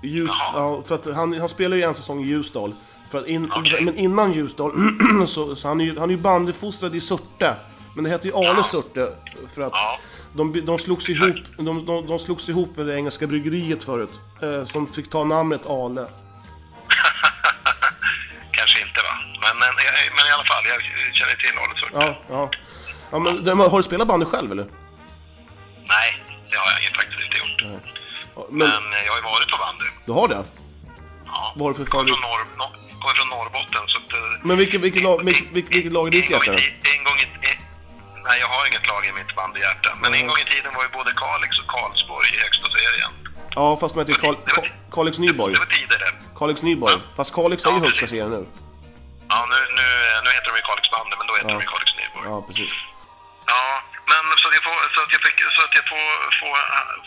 I Ljus, Jaha. ja, för att han, han spelar ju en säsong i Ljusdal. För att in, Okej. Men innan Ljusdal, så, så han är ju, han är ju bandyfostrad i Surte. Men det heter ju Ale Surte. För att Ja. de, de, slogs ihop, de, de, de slogs ihop med det engelska bryggeriet förut. Eh, som fick ta namnet Ale. Kanske inte va? Men, men, men i alla fall, jag känner till Arne Surte. Ja, ja. ja men, de- har du spelat bandy själv eller? Nej, det har jag ju faktiskt inte gjort. Ja, Men, Men eh, jag har ju varit på bandy. du har det? Ja. Vad har du för Kommer favorit? från, Norr, Nor- kommer från Norrbotten så att... eh, Men vilket, vilket, lag, vilket, vilket, vilket lag är ditt en gång i hjärta? då? ti- En gång i... eh, Nej, jag har inget lag i mitt bandyhjärta. Men Mm. en gång i tiden var ju både Kalix och Karlsborg i högsta serien. Ja, fast man heter Karl, Ka- Kalix Nyborg. Det var tider det. Kalix Nyborg. Fast Kalix är ju Ja, högsta precis. serien nu. Ja, nu, nu, eh, nu heter de ju Kalix bandy, men då heter de ju Kalix Nyborg. Ja, precis. Ja, men så att jag får, så att jag fick, så att jag får, får,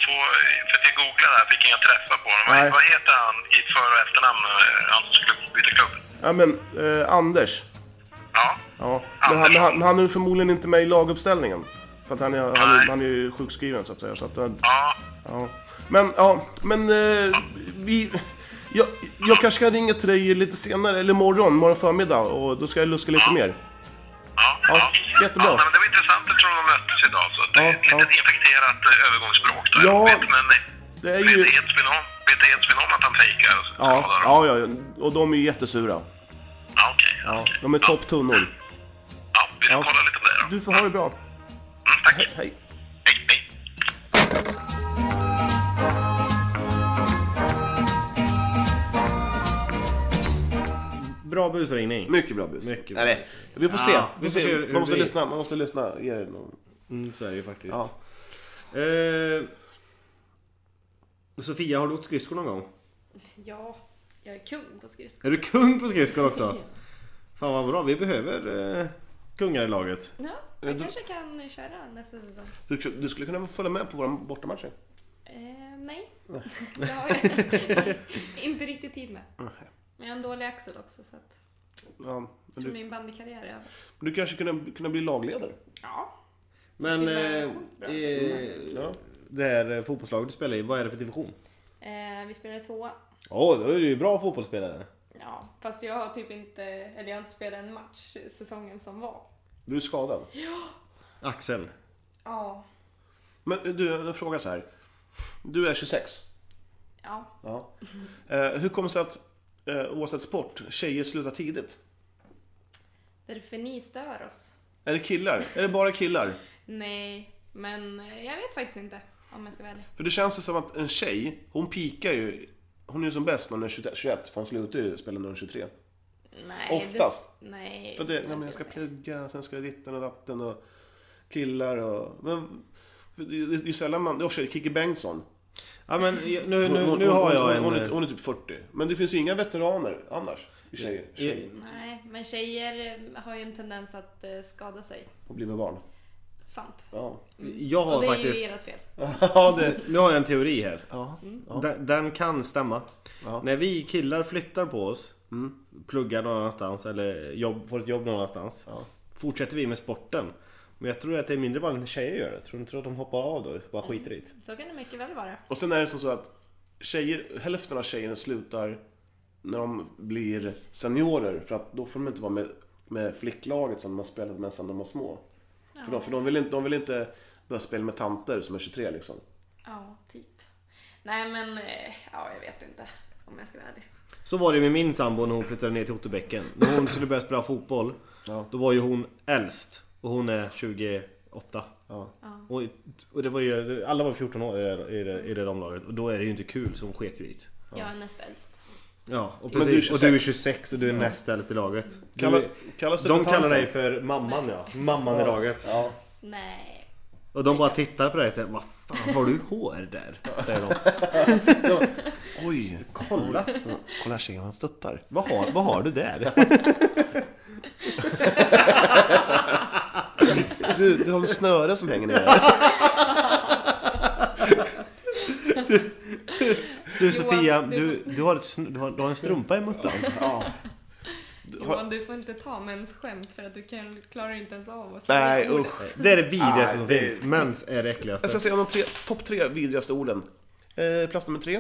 får för att jag googlade där fick jag träffa på honom. Nej. Vad- Vad heter han i för och efternamn, eh, han som skulle byta klubb? Ja, men eh, Anders. Ja. Ja. Men, han, men, han, men han är ju förmodligen inte med i laguppställningen. För att han är, han, är, Nej. han är ju sjukskriven så att säga. Så att, eh, Ja, ja. Men, ja, men eh, vi... Jag, jag kanske ska ringa till dig lite senare, eller imorgon, morgon förmiddag. Och då ska jag luska lite mer. ja, Ja, jättebra. Ja, nej, men det var intressant eftersom de möttes idag. Så att det är Ja, ett litet ja. infekterat eh, övergångsbråk där. Ja, vet, men eh, Det är ju... vet Edsbyn om, vet Edsbyn om att han fejkar Ja, skador? ja, ja, och de är ju jättesura. ja okej. Ja, okej. de är topptunnor. Ja, vi får Ja. kolla lite på det då. Du får ha det bra. Mm, tack. He- hej. Hej, hej. Bra busringning. Mycket bra bus. Mycket bra Eller, vi får se. Ja, vi får se. hur Man måste det är. lyssna. Man måste lyssna. Ge det någon... Mm, så är det ju faktiskt. Ja. Eh, Sofia, har du åkt skridskor någon gång? Ja, jag är kung på skridskor. Är du kung på skridskor också? Fan vad bra, vi behöver eh, kungar i laget. Ja, Eh, jag då- kanske kan köra nästa säsong. Du, du skulle kunna följa med på våra bortamatcher. Eh, nej, det har jag inte riktigt tid med. Mm. Men jag har en dålig axel också så att Ja, men jag tror du, min bandykarriär är över. du kanske kunde kunna bli lagledare. Ja. Men skulle eh, vara Mm. eh, Ja. det här eh, fotbollslaget du spelar i, vad är det för division? Eh, vi spelade tvåa. Åh, då är du ju bra fotbollsspelare. Ja, fast jag har typ inte, eller jag har inte spelat en match säsongen som var. Du är skadad. Axel. Ja. Men du, jag frågar så här. Du är 26. Ja. Ja. Eh, hur kommer det sig att, eh, oavsett sport, tjejer slutar tidigt? Därför ni stör oss. Är det killar? Är det bara killar? Nej, men eh, jag vet faktiskt inte om jag ska vara ärlig. För det känns ju som att en tjej, hon pikar ju. Hon är ju som bäst när hon är 21, 21, för hon slutar ju spela när hon är 23. Nej, Oftast. Det, nej, För det det, nej, men skulle inte jag ska säga. plugga, sen ska jag ditten och datten och killar och... Men, för det, det, det är sällan man... Det är i och för sig Kikki Bengtsson. Ja, men jag- nu, Hon, nu, hon, nu har jag hon, hon, är, en... eh, hon är typ 40. Men det finns ju inga veteraner annars. I tjejer. tjejer. Nej, men tjejer eh, har ju en tendens att eh, skada sig. Och blir med barn. Sant. Ja, Jag Och har det är faktiskt... ju ert fel. ja det... Nu har jag en teori här. Ja. Den, den kan stämma. Ja. När vi killar flyttar på oss, mm, pluggar någon annanstans eller jobb, får ett jobb någon annanstans. Ja. Fortsätter vi med sporten. Men jag tror att det är mindre vanligt när tjejer gör det. Tror du inte att de hoppar av då? Bara skiter i det? Så kan det mycket väl vara. Och sen är det som så att tjejer, hälften av tjejerna slutar när de blir seniorer. För att då får de inte vara med, med flicklaget som de har spelat med sedan de var små. För, de, för de, vill inte, de vill inte börja spela med tanter som är 23 liksom. Ja, typ. Nej men, eh, ja jag vet inte. Om jag ska vara ärlig. Så var det med min sambo när hon flyttade ner till Otterbäcken. När hon skulle börja spela fotboll. Ja. Då var ju hon äldst. Och hon är 28. Ja. Och, och det var ju, alla var 14 år i det, i det, i det damlaget. Och då är det ju inte kul så hon sket ju i det. Jag är näst äldst. Ja, och, Men precis. du är och du är 26. 26 och du är näst äldst i laget. Du, Kalla- kallas du de för kallar tanten? dig för mamman ja. Mamman i laget. Nej. Och de bara tittar på dig och säger Vad fan har du hår där? Säger de. Oj! Kolla! Kolla tjejen, han stöttar. Vad har, vad har du där? Du, du har en snöre som hänger ner. Du Johan, Sofia, du- du, du, har ett, sn- du, har, du har en strumpa i muttan. Ja. Johan du får inte ta mensskämt för att du kan, klarar inte ens av att säga Nej, ordet. usch. Det är det vidrigaste Ah, som det- finns. Mens är det äckligaste. Jag ska säga de tre, topp tre vidrigaste orden. Eh, plats nummer tre.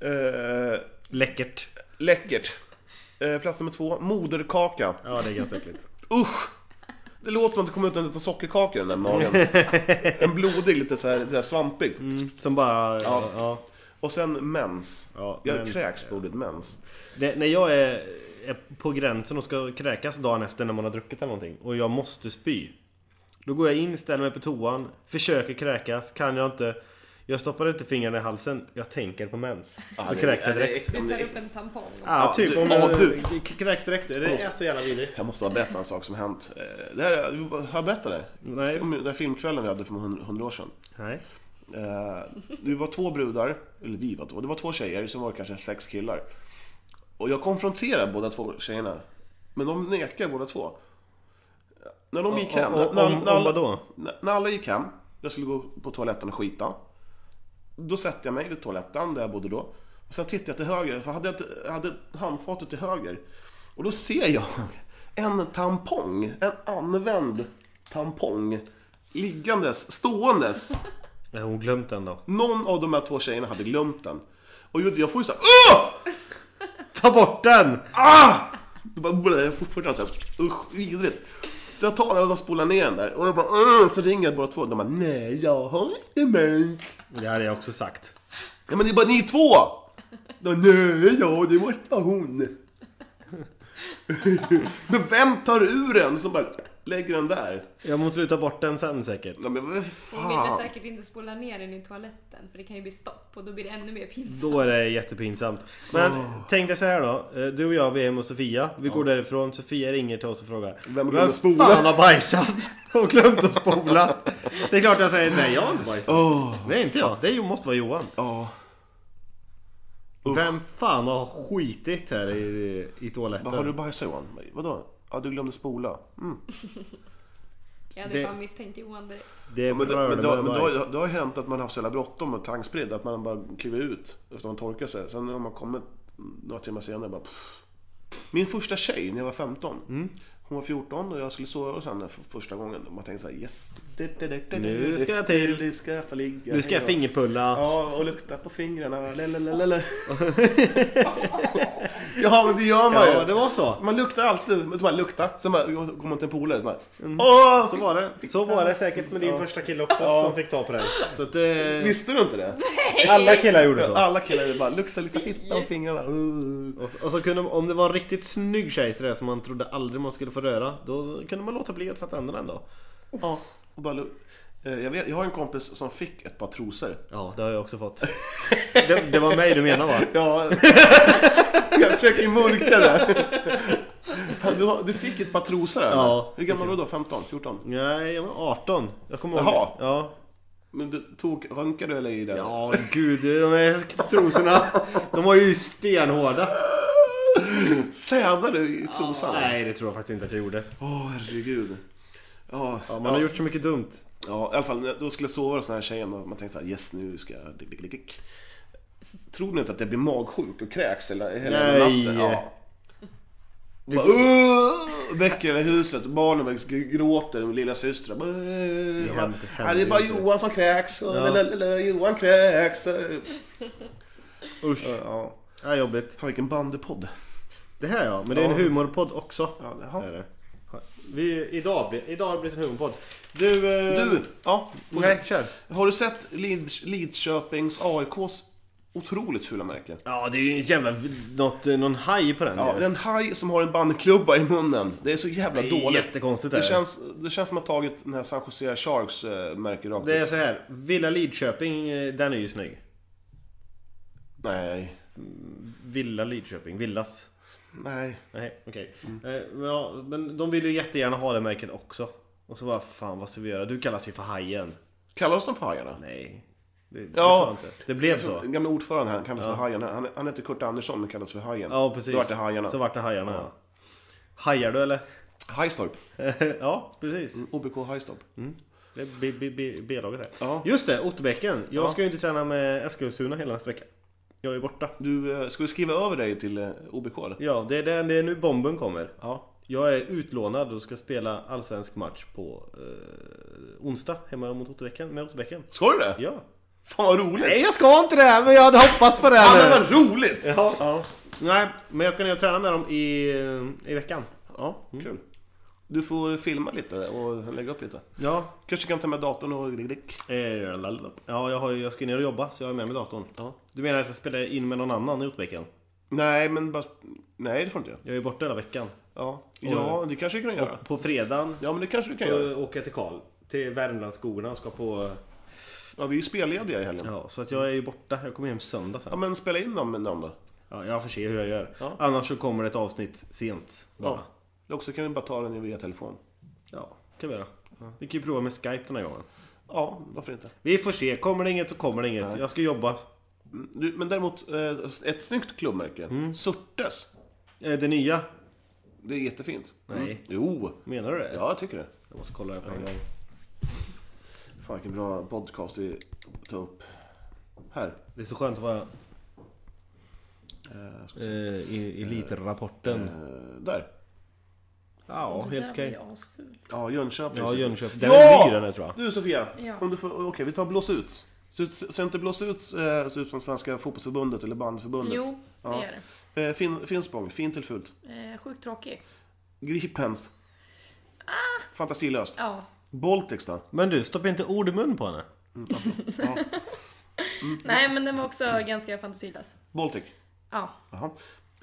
Eh, Läckert. läckert. Eh, plats nummer två. Moderkaka. Ja, det är ganska äckligt. Usch! Det låter som att det kommer ut en liten sockerkaka i den där magen. En blodig, lite så här, så här svampig. Som Ja. bara... Ja. Ja, Och sen mens. Ja, jag mens. kräks på ordet mens. Det, när jag är, är på gränsen och ska kräkas dagen efter när man har druckit eller någonting och jag måste spy. Då går jag in, ställer mig på toan, försöker kräkas, kan jag inte. Jag stoppar inte fingrarna i halsen, jag tänker på mens. Då kräks jag direkt. Du tar upp en tampong. Ja, Ja, typ. du- om ja, jag du. k- kräks direkt. Det är så jävla vidrigt. Jag måste ha berättat en sak som hänt. Eh, Det här, har jag berättat det? Nej. Om Den där filmkvällen vi hade för hundra- hundra år sedan. Nej. Eh, det var två brudar, eller vi var två, det var två tjejer, som var det kanske sex killar. Och jag konfronterade båda två tjejerna. Men de nekade båda två. När de gick hem... Om, om, när, om, när, om vadå? när, när alla gick hem, jag skulle gå på toaletten och skita. Då sätter jag mig vid toaletten där jag bodde då. Och sen tittar jag till höger, för jag hade, jag hade handfatet till höger. Och då ser jag en tampong, en använd tampong. Liggandes, ståendes Nej, hon glömt den då. någon av de här två tjejerna hade glömt den. Och jag jag får ju såhär Åh! Ta bort den! Ah! Det bara blä, jag får fortfarande såhär usch vidrigt. Så jag tar den och bara spolar ner den där. Och jag bara Åh! Så ringer jag båda två. De bara nej jag har inte mens. Det hade jag också sagt. Ja men det är bara ni två! De bara, nej ja det måste vara hon. men vem tar ur den som bara lägger den där? Jag måste ta bort den sen säkert. Ja, men vad Hon ville fan. säkert inte spola ner den i toaletten för det kan ju bli stopp och då blir det ännu mer pinsamt. Då är det jättepinsamt. Men tänk dig så här då. Eh, Du och jag, vi är hemma hos Sofia. Vi går därifrån. Sofia ringer till oss och frågar. glömde spola?" fan har bajsat? Och glömt att spola. Det är klart jag säger nej, jag har inte bajsat. Åh, Nej, inte jag. Det måste vara Johan. ja. Vem fan har skitit här i, i toaletten? Vad har du bajsat Johan? Vadå? Ja du glömde spola. Jag hade Det- fan misstänkt Johan direkt. Det Men, det, men, det, rörde men det, mig har, bajs. det har ju hänt att man har haft så jävla bråttom och tankspridd att man bara kliver ut efter att man torkat sig. Sen när man kommit några timmar senare bara... Pff. Min första tjej när jag var 15. Hon var 14 och jag skulle sova hos henne för första gången. Och man tänkte såhär yes. Nu ska jag till. Nu ska jag få ligga. Nu ska jag fingerpulla. Ja, och lukta på fingrarna. Lalalala. ja, men det gör man ju. Ja, det var så. Man luktar alltid. Men så bara lukta. Sen bara, kommer man till en polare så bara... Åh! Så var det. Så var det säkert med din första kille också som fick ta på dig. Så att, eh, Visste du inte det? alla killar gjorde så. Alla killar bara lukta, lukta fitta och fingrarna. Uh. Och så, och så kunde, om det var en riktigt snygg tjej sådär som man trodde aldrig man skulle få röra Då kunde man låta bli att tvätta händerna ändå Ja, och bara, lu- Eh, jag, vet, jag har en kompis som fick ett par trosor. Ja, det har jag också fått Det, det var mig du menar va? Ja, jag försöker ju mörka det. Du, har- du fick ett par trosor? eller? Ja. Hur gammal var du då? 15? 14? Nej, jag var 18 Jag kommer ihåg Jaha. det. Ja Men du tog, rönkade du eller i den? Ja, gud. De här trosorna. De var ju stenhårda. Sädade du i trosan? Nej, det tror jag faktiskt inte att jag gjorde. Åh, herregud. Ja, Ja, man har gjort så mycket dumt. Ja, i alla fall då skulle jag sova hos den här tjejen och man tänkte så här, yes nu ska jag... Dick, dick, dick, dick. Tror ni inte att jag blir magsjuk och kräks hela, hela Nej. natten? Ja. Bara, "Åh!" väcker hela huset, barnen bara gråter, min lilla syster bara, "Åh!" Det bara, händer- "Här är det bara händer inte." Johan som kräks, och lalalala, Johan kräks. Usch. Ja, Ja, jobbigt. fan vilken bandypodd. Det här ja, men det är en Ja. humorpodd också. Ja, Ja. jaha. Är det. Vi, idag, blir, idag blir det en humorpodd. Du... eh, Du, ja, Nej, kör. har du sett Lid- Lidköpings AIKs otroligt fula märke? Ja, det är ju en jävla... Något, eh, någon haj på den. Ja, ju. det är en haj som har en bandklubba i munnen. Det är så jävla Det är dåligt. jättekonstigt det, är det. känns, det känns som att man har tagit den här San Jose Sharks eh, märke rakt Det är upp. så här. Villa Lidköping, eh, den är ju snygg. Nej, Villa Lidköping, Villas. nej. Nej, okej. Eh, men ja, men de vill ju jättegärna ha det märket också. Och så bara, fan vad ska vi göra? Du kallas ju för Hajen. Kallas de för hajarna? Nej. Det, det Ja. tror jag inte. Det blev så. Den gamla ordföranden här kallas för hajen. Han, han heter Kurt Andersson men kallas för hajen. Ja, precis. Då vart det hajarna. Så vart det Hajarna, ja. Hajar du eller? Hajstorp. ja, precis. OBK Hajstorp. Mm. Det är B- B- B- B-laget här. Ja. Just det, Otterbäcken. Jag Ja. ska ju inte träna med Eskilstuna hela nästa vecka. Jag är borta. Du, eh, ska vi skriva över dig till eh, OBK eller? Ja, det är, där, det är nu bomben kommer. Ja. Jag är utlånad och ska spela allsvensk match på eh, onsdag hemma mot Otterbäcken, med Otterbäcken. Ska du det? Ja. Fan vad roligt! Nej, jag ska inte det! Men jag hade hoppats på det! Fan nu. det var roligt! ja. Nej, men jag ska ner och träna med dem i, eh, i veckan. Ja, kul. mm. Du får filma lite och lägga upp lite. Ja, Kanske kan ta med datorn och... glick. Eh, lalala. Ja, jag, har, ju- jag ska ner och jobba så jag är med med datorn. Du menar att jag spelar in med någon annan i Otterbäcken? Nej, men bara... Nej, det får du inte göra. Jag är borta hela veckan. Ja, ja det kanske du kan göra. På fredagen Ja, men det kanske du kan göra. så åker jag till Karl. Till Värmlandsskogarna och ska på... Ja, vi är spellediga i helgen. Ja, så att jag är ju borta. Jag kommer hem söndag Ja, sen. men spela in dem med någon då. Ja, jag får se hur jag gör. Ja. Annars så kommer det ett avsnitt sent. Bara. Ja. Eller så kan vi bara ta den via telefon. Ja, kan vi göra. Vi kan ju prova med Skype den här gången. Ja, varför inte? Vi får se. Kommer det inget så kommer det inget. Jag ska jobba. Mm, Du, men däremot, eh, ett snyggt klubbmärke. Mm. Surtes. Eh, Det nya. Det är jättefint. Mm. Nej. Jo. Menar du det? Ja, jag tycker det. Jag måste kolla det på en gång. Fan, vilken bra podcast vi tar upp. Här. Det är så skönt att vara Eh, ska vi se. eh, i elitrapporten. Eh, där. Ja, Det helt där okej. var ju asful. Ja, Jönköping. Ja, Jönköping. Den är Ja! ny den här tror jag. Du Sofia, Ja. om du får, okej vi tar blås ut. Så, så, så inte blås ut eh, så ut som Svenska Fotbollsförbundet eller Bandförbundet. Jo, det Ja. är Eh, fin, Finspång, fint till fult. det. Eh, sjukt tråkig. Gripens. Ah! Fantasilöst. Ja. Baltics då? Men du, stoppa inte ord i mun på henne. Nej, men den var också ganska fantasilös. Baltic. Ja. Jaha.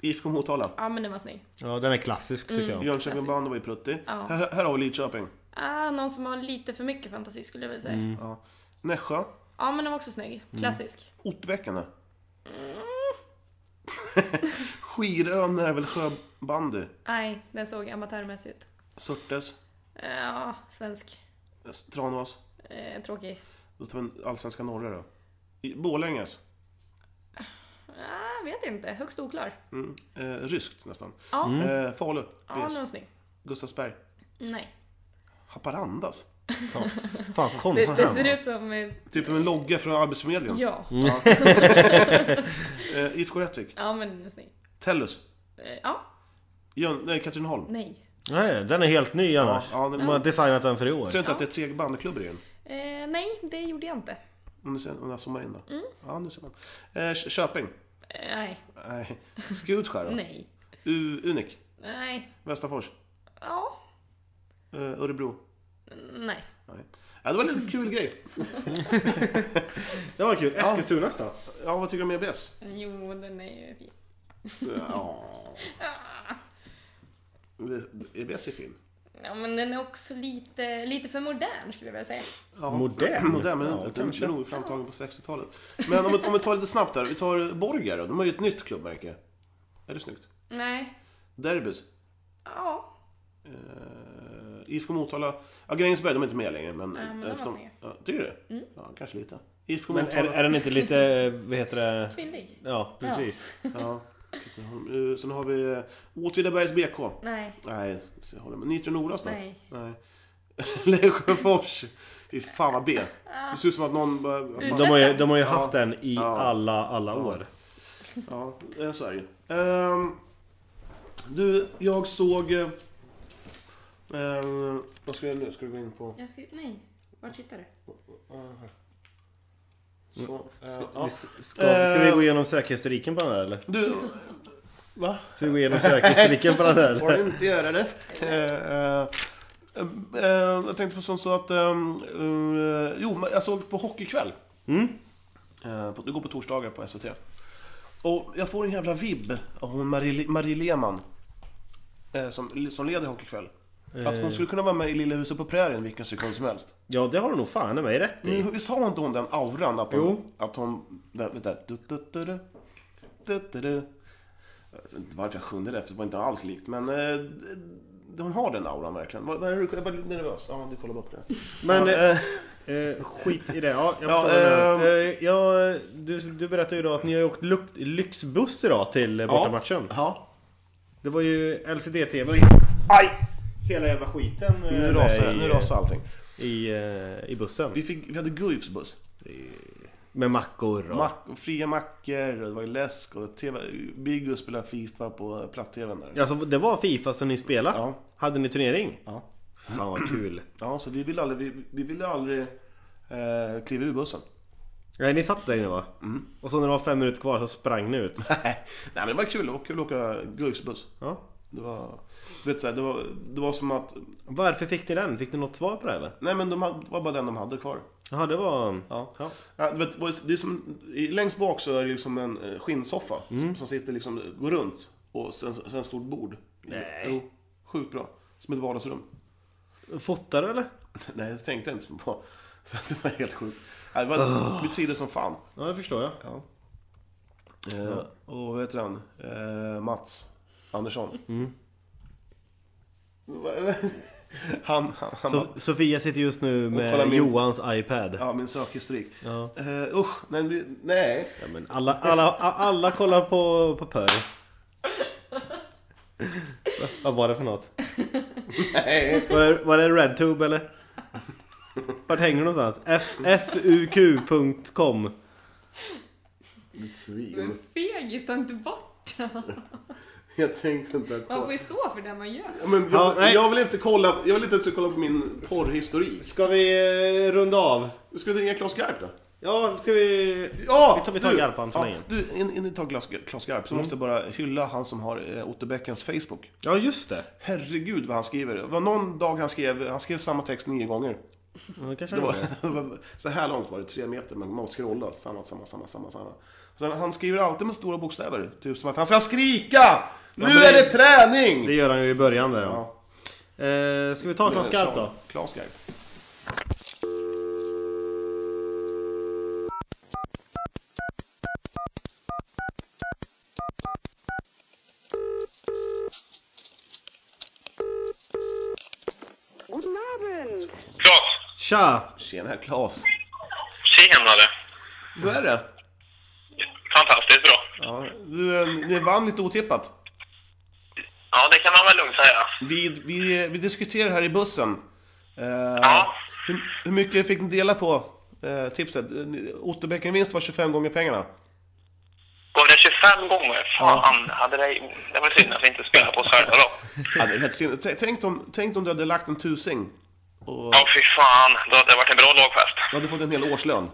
IFK Motala. ja, men den var snygg. Ja, den är klassisk tycker Mm. jag. Jönköping Band var ju pruttig. Ja. Här, här har vi Lidköping. Ah, någon som har lite för mycket fantasi skulle jag vilja säga. Ja. Nässjö. Ja, men den var också snygg. Mm. Klassisk. Otterbäcken här. Mm. Skirön är väl sjöbandy? Nej, den såg amatörmässigt. Surtes. Eh, Ja, svensk. Tranås. Eh, tråkig. Då tar vi en allsvenska norra då. I- alltså. Borlänges. Ah, vet inte. Högst oklar. Mm. Eh, ryskt nästan. Ja, Eh, Falu. Mm. ja den BS. var snygg. Gustavsberg. Nej. Haparandas. Fan, Det, konstigt. det ser ut som... eh, Typ en logga från Arbetsförmedlingen. Ja. Eh, IFK Rättvik. Ja, men den är snygg. Tellus. Eh, Ja, Jön, nej, Katrineholm. nej. Nej, den är helt ny Ja, annars. ja, den, De har designat den för i år. Ser du inte att det är tre bandklubbor i den? Eh, nej, det gjorde jag inte. Om ni ser- om jag zoomar in då. Mm. Ja, nu ser man. Eh, Kö- Köping. Eh, nej, Nej. Skutskär då? nej, U- Unik. nej. Västerfors. Ja, Eh, Örebro. nej. Nej. Ja, det var en liten kul grej. Det var kul. Eskilstunas då? Ja, vad tycker du om EBS? Jo, den är ju fin. Ah. Ja. Det- EBS är fin. Ja, men den är också lite, lite för modern skulle jag vilja säga. Ja. Modern. Modern, men Ja, den- den kanske. är nog framtagen på 60-talet. Men om, vi- om vi tar lite snabbt här. Vi tar Borger då. De har ju ett nytt klubbmärke. Är det snyggt? Nej. Derbys. Ja. Eh, IFK Motala... Ja, Grängesberg, de är inte med längre. Men, Nej, men de var eftersom- snygga. Mm. ja, Tycker du det? Ja, kanske lite. IFK Men Motala... är, är den inte lite, eh, vad heter det? Kvinnlig? Ja, precis. Ja. Eh, Sen har vi eh, Åtvidabergs BK. Nej. Nej, så jag håller med. Nitro Noras då? Nej. Nej. Lesjöfors. Fy fan vad B. Det ser ut som att någon bara... vad fan. De har ju, de har ju haft den i Ja. alla, alla år. Ja, eh, så är det ju. Ehm, Du, jag såg... eh, ehm, Vad ska jag nu? Ska du gå in på... Jag ska, nej. Var tittar du? Så, eh, Vi ja. s- Ska, ska vi Eh. gå igenom sökhistoriken på den här eller? Du... Va? Ska vi gå igenom sökhistoriken på den Får här? du inte göra det? Eh, eh, eh, jag tänkte på sånt så att... ehm, eh, jo, men jag såg på Hockeykväll. Eh, på- det går på torsdagar på SVT. Och jag får en jävla vibb av hon Marie, Marie Lehmann. eh, som, som leder Hockeykväll. Att hon skulle kunna vara med i Lilla huset på prärien vilken sekund som helst. Ja, det har du nog fan i mig rätt i. Men visst har inte hon den auran? Att hon... Jo. Att hon där, vänta. Du, du, du, du, du, du, du. Jag vet inte varför jag sjunger det, för det var inte alls likt. Men eh, d- hon har den auran verkligen. Vad, vad är det? Jag var lite nervös. Ja, du kollar bort det. Men Ja, eh, eh, skit i det. Ja, jag Ja, ehm. förstår ja, eh, ja, du, du berättade ju då att ni har åkt luk- lyxbuss idag till eh, bortamatchen. Ja. Det var ju LCD-TV och Aj! hela jävla skiten. eh, Nu där rasar, i, nu rasar allting. I, eh, i bussen. Vi, fick, vi hade Guifs buss. Med mackor och... Mack, fria mackor, och det var ju läsk och TV, Biggo spelade Fifa på platt-tvn där. Alltså det var Fifa som ni spelade? Ja. Hade ni turnering? Ja. Fan vad kul. Ja, så vi ville aldrig, vi, vi ville aldrig eh, kliva ur bussen. Nej, ni satt där inne va? Mm. Och så när det var fem minuter kvar så sprang ni ut. Nej, men det var kul. Det var kul att åka Guifsbuss. Ja. Det var, du vet, så här, det, var, det var som att... Varför fick ni den? Fick ni något svar på det eller? Nej, men de hade, det var bara den de hade kvar. Jaha, det var... Ja. ja. Ja, du vet, det är som, i- längst bak så är det liksom en eh, skinnsoffa som sitter liksom, går runt. Och sen, sen ett stort bord. Nej. Jo, sjukt bra. Som ett vardagsrum. Fotar du eller? Nej, det tänkte jag inte på. Så att det var helt sjukt. Ja, det var, Vi trivdes som fan. Ja, det förstår jag. Ja. Eh, och vad heter han? Eh, Mats Andersson. han, han, han bara, So- Sofia sitter just nu kollar med min- Johans iPad. ja min sökhistorik. Ja. Eh, usch, nej, vi- nej. Ja, men alla, alla, a- alla kollar på, på Pör. Va- Vad var det för något? nej. Var det, var det RedTube eller? Vart hänger du någonstans? F- fuq.com Men Svin. fegis, ta inte bort Jag tänkte inte Man får kolla. ju stå för det man gör. Men jag, Ja, nej. jag vill inte kolla, jag vill inte att du ska kolla på min porrhistorik. Ska vi eh, runda av? Ska vi dricka ett glas Garp då? Ja, ska vi... Ja! Vi tar- vi tar du! Garpan så länge. Du, innan in, vi tar Klas, Klas Garp så Mm. måste jag bara hylla han som har eh, Otto Beckens Facebook. Ja, just det. Herregud vad han skriver. Det var någon dag han skrev, han skrev samma text nio gånger. Ja, det kanske Det det var, var det. så här långt var det, tre meter, men man måste scrolla. Samma, samma, samma, samma, samma. Sen, han skriver alltid med stora bokstäver. Typ som att han ska skrika! Nu men det- är det träning! Det gör han ju i början där ja. Ja. Eh, ska vi ta Klas Garp då? Klas Garp. Klas! Tja! Tjena Klas. Tjenare! Hur är det? Fantastiskt bra. Ja, du, eh, ni vann lite otippat. Ja, det kan man väl lugnt säga. Vi, vi, vi diskuterar här i bussen. Eh, Ja. hur, hur mycket fick ni dela på eh, tipset? Eh, ni- Otterbäcken-vinst var 25 gånger pengarna. Gav det 25 gånger? Fan, hade det, det var synd att vi inte spelade på oss själva då. Ja, det är helt sinne. T- tänk, om, tänk om du hade lagt en tusing och Ja, fy fan. Då hade det varit en bra lagfest. du hade fått en hel årslön.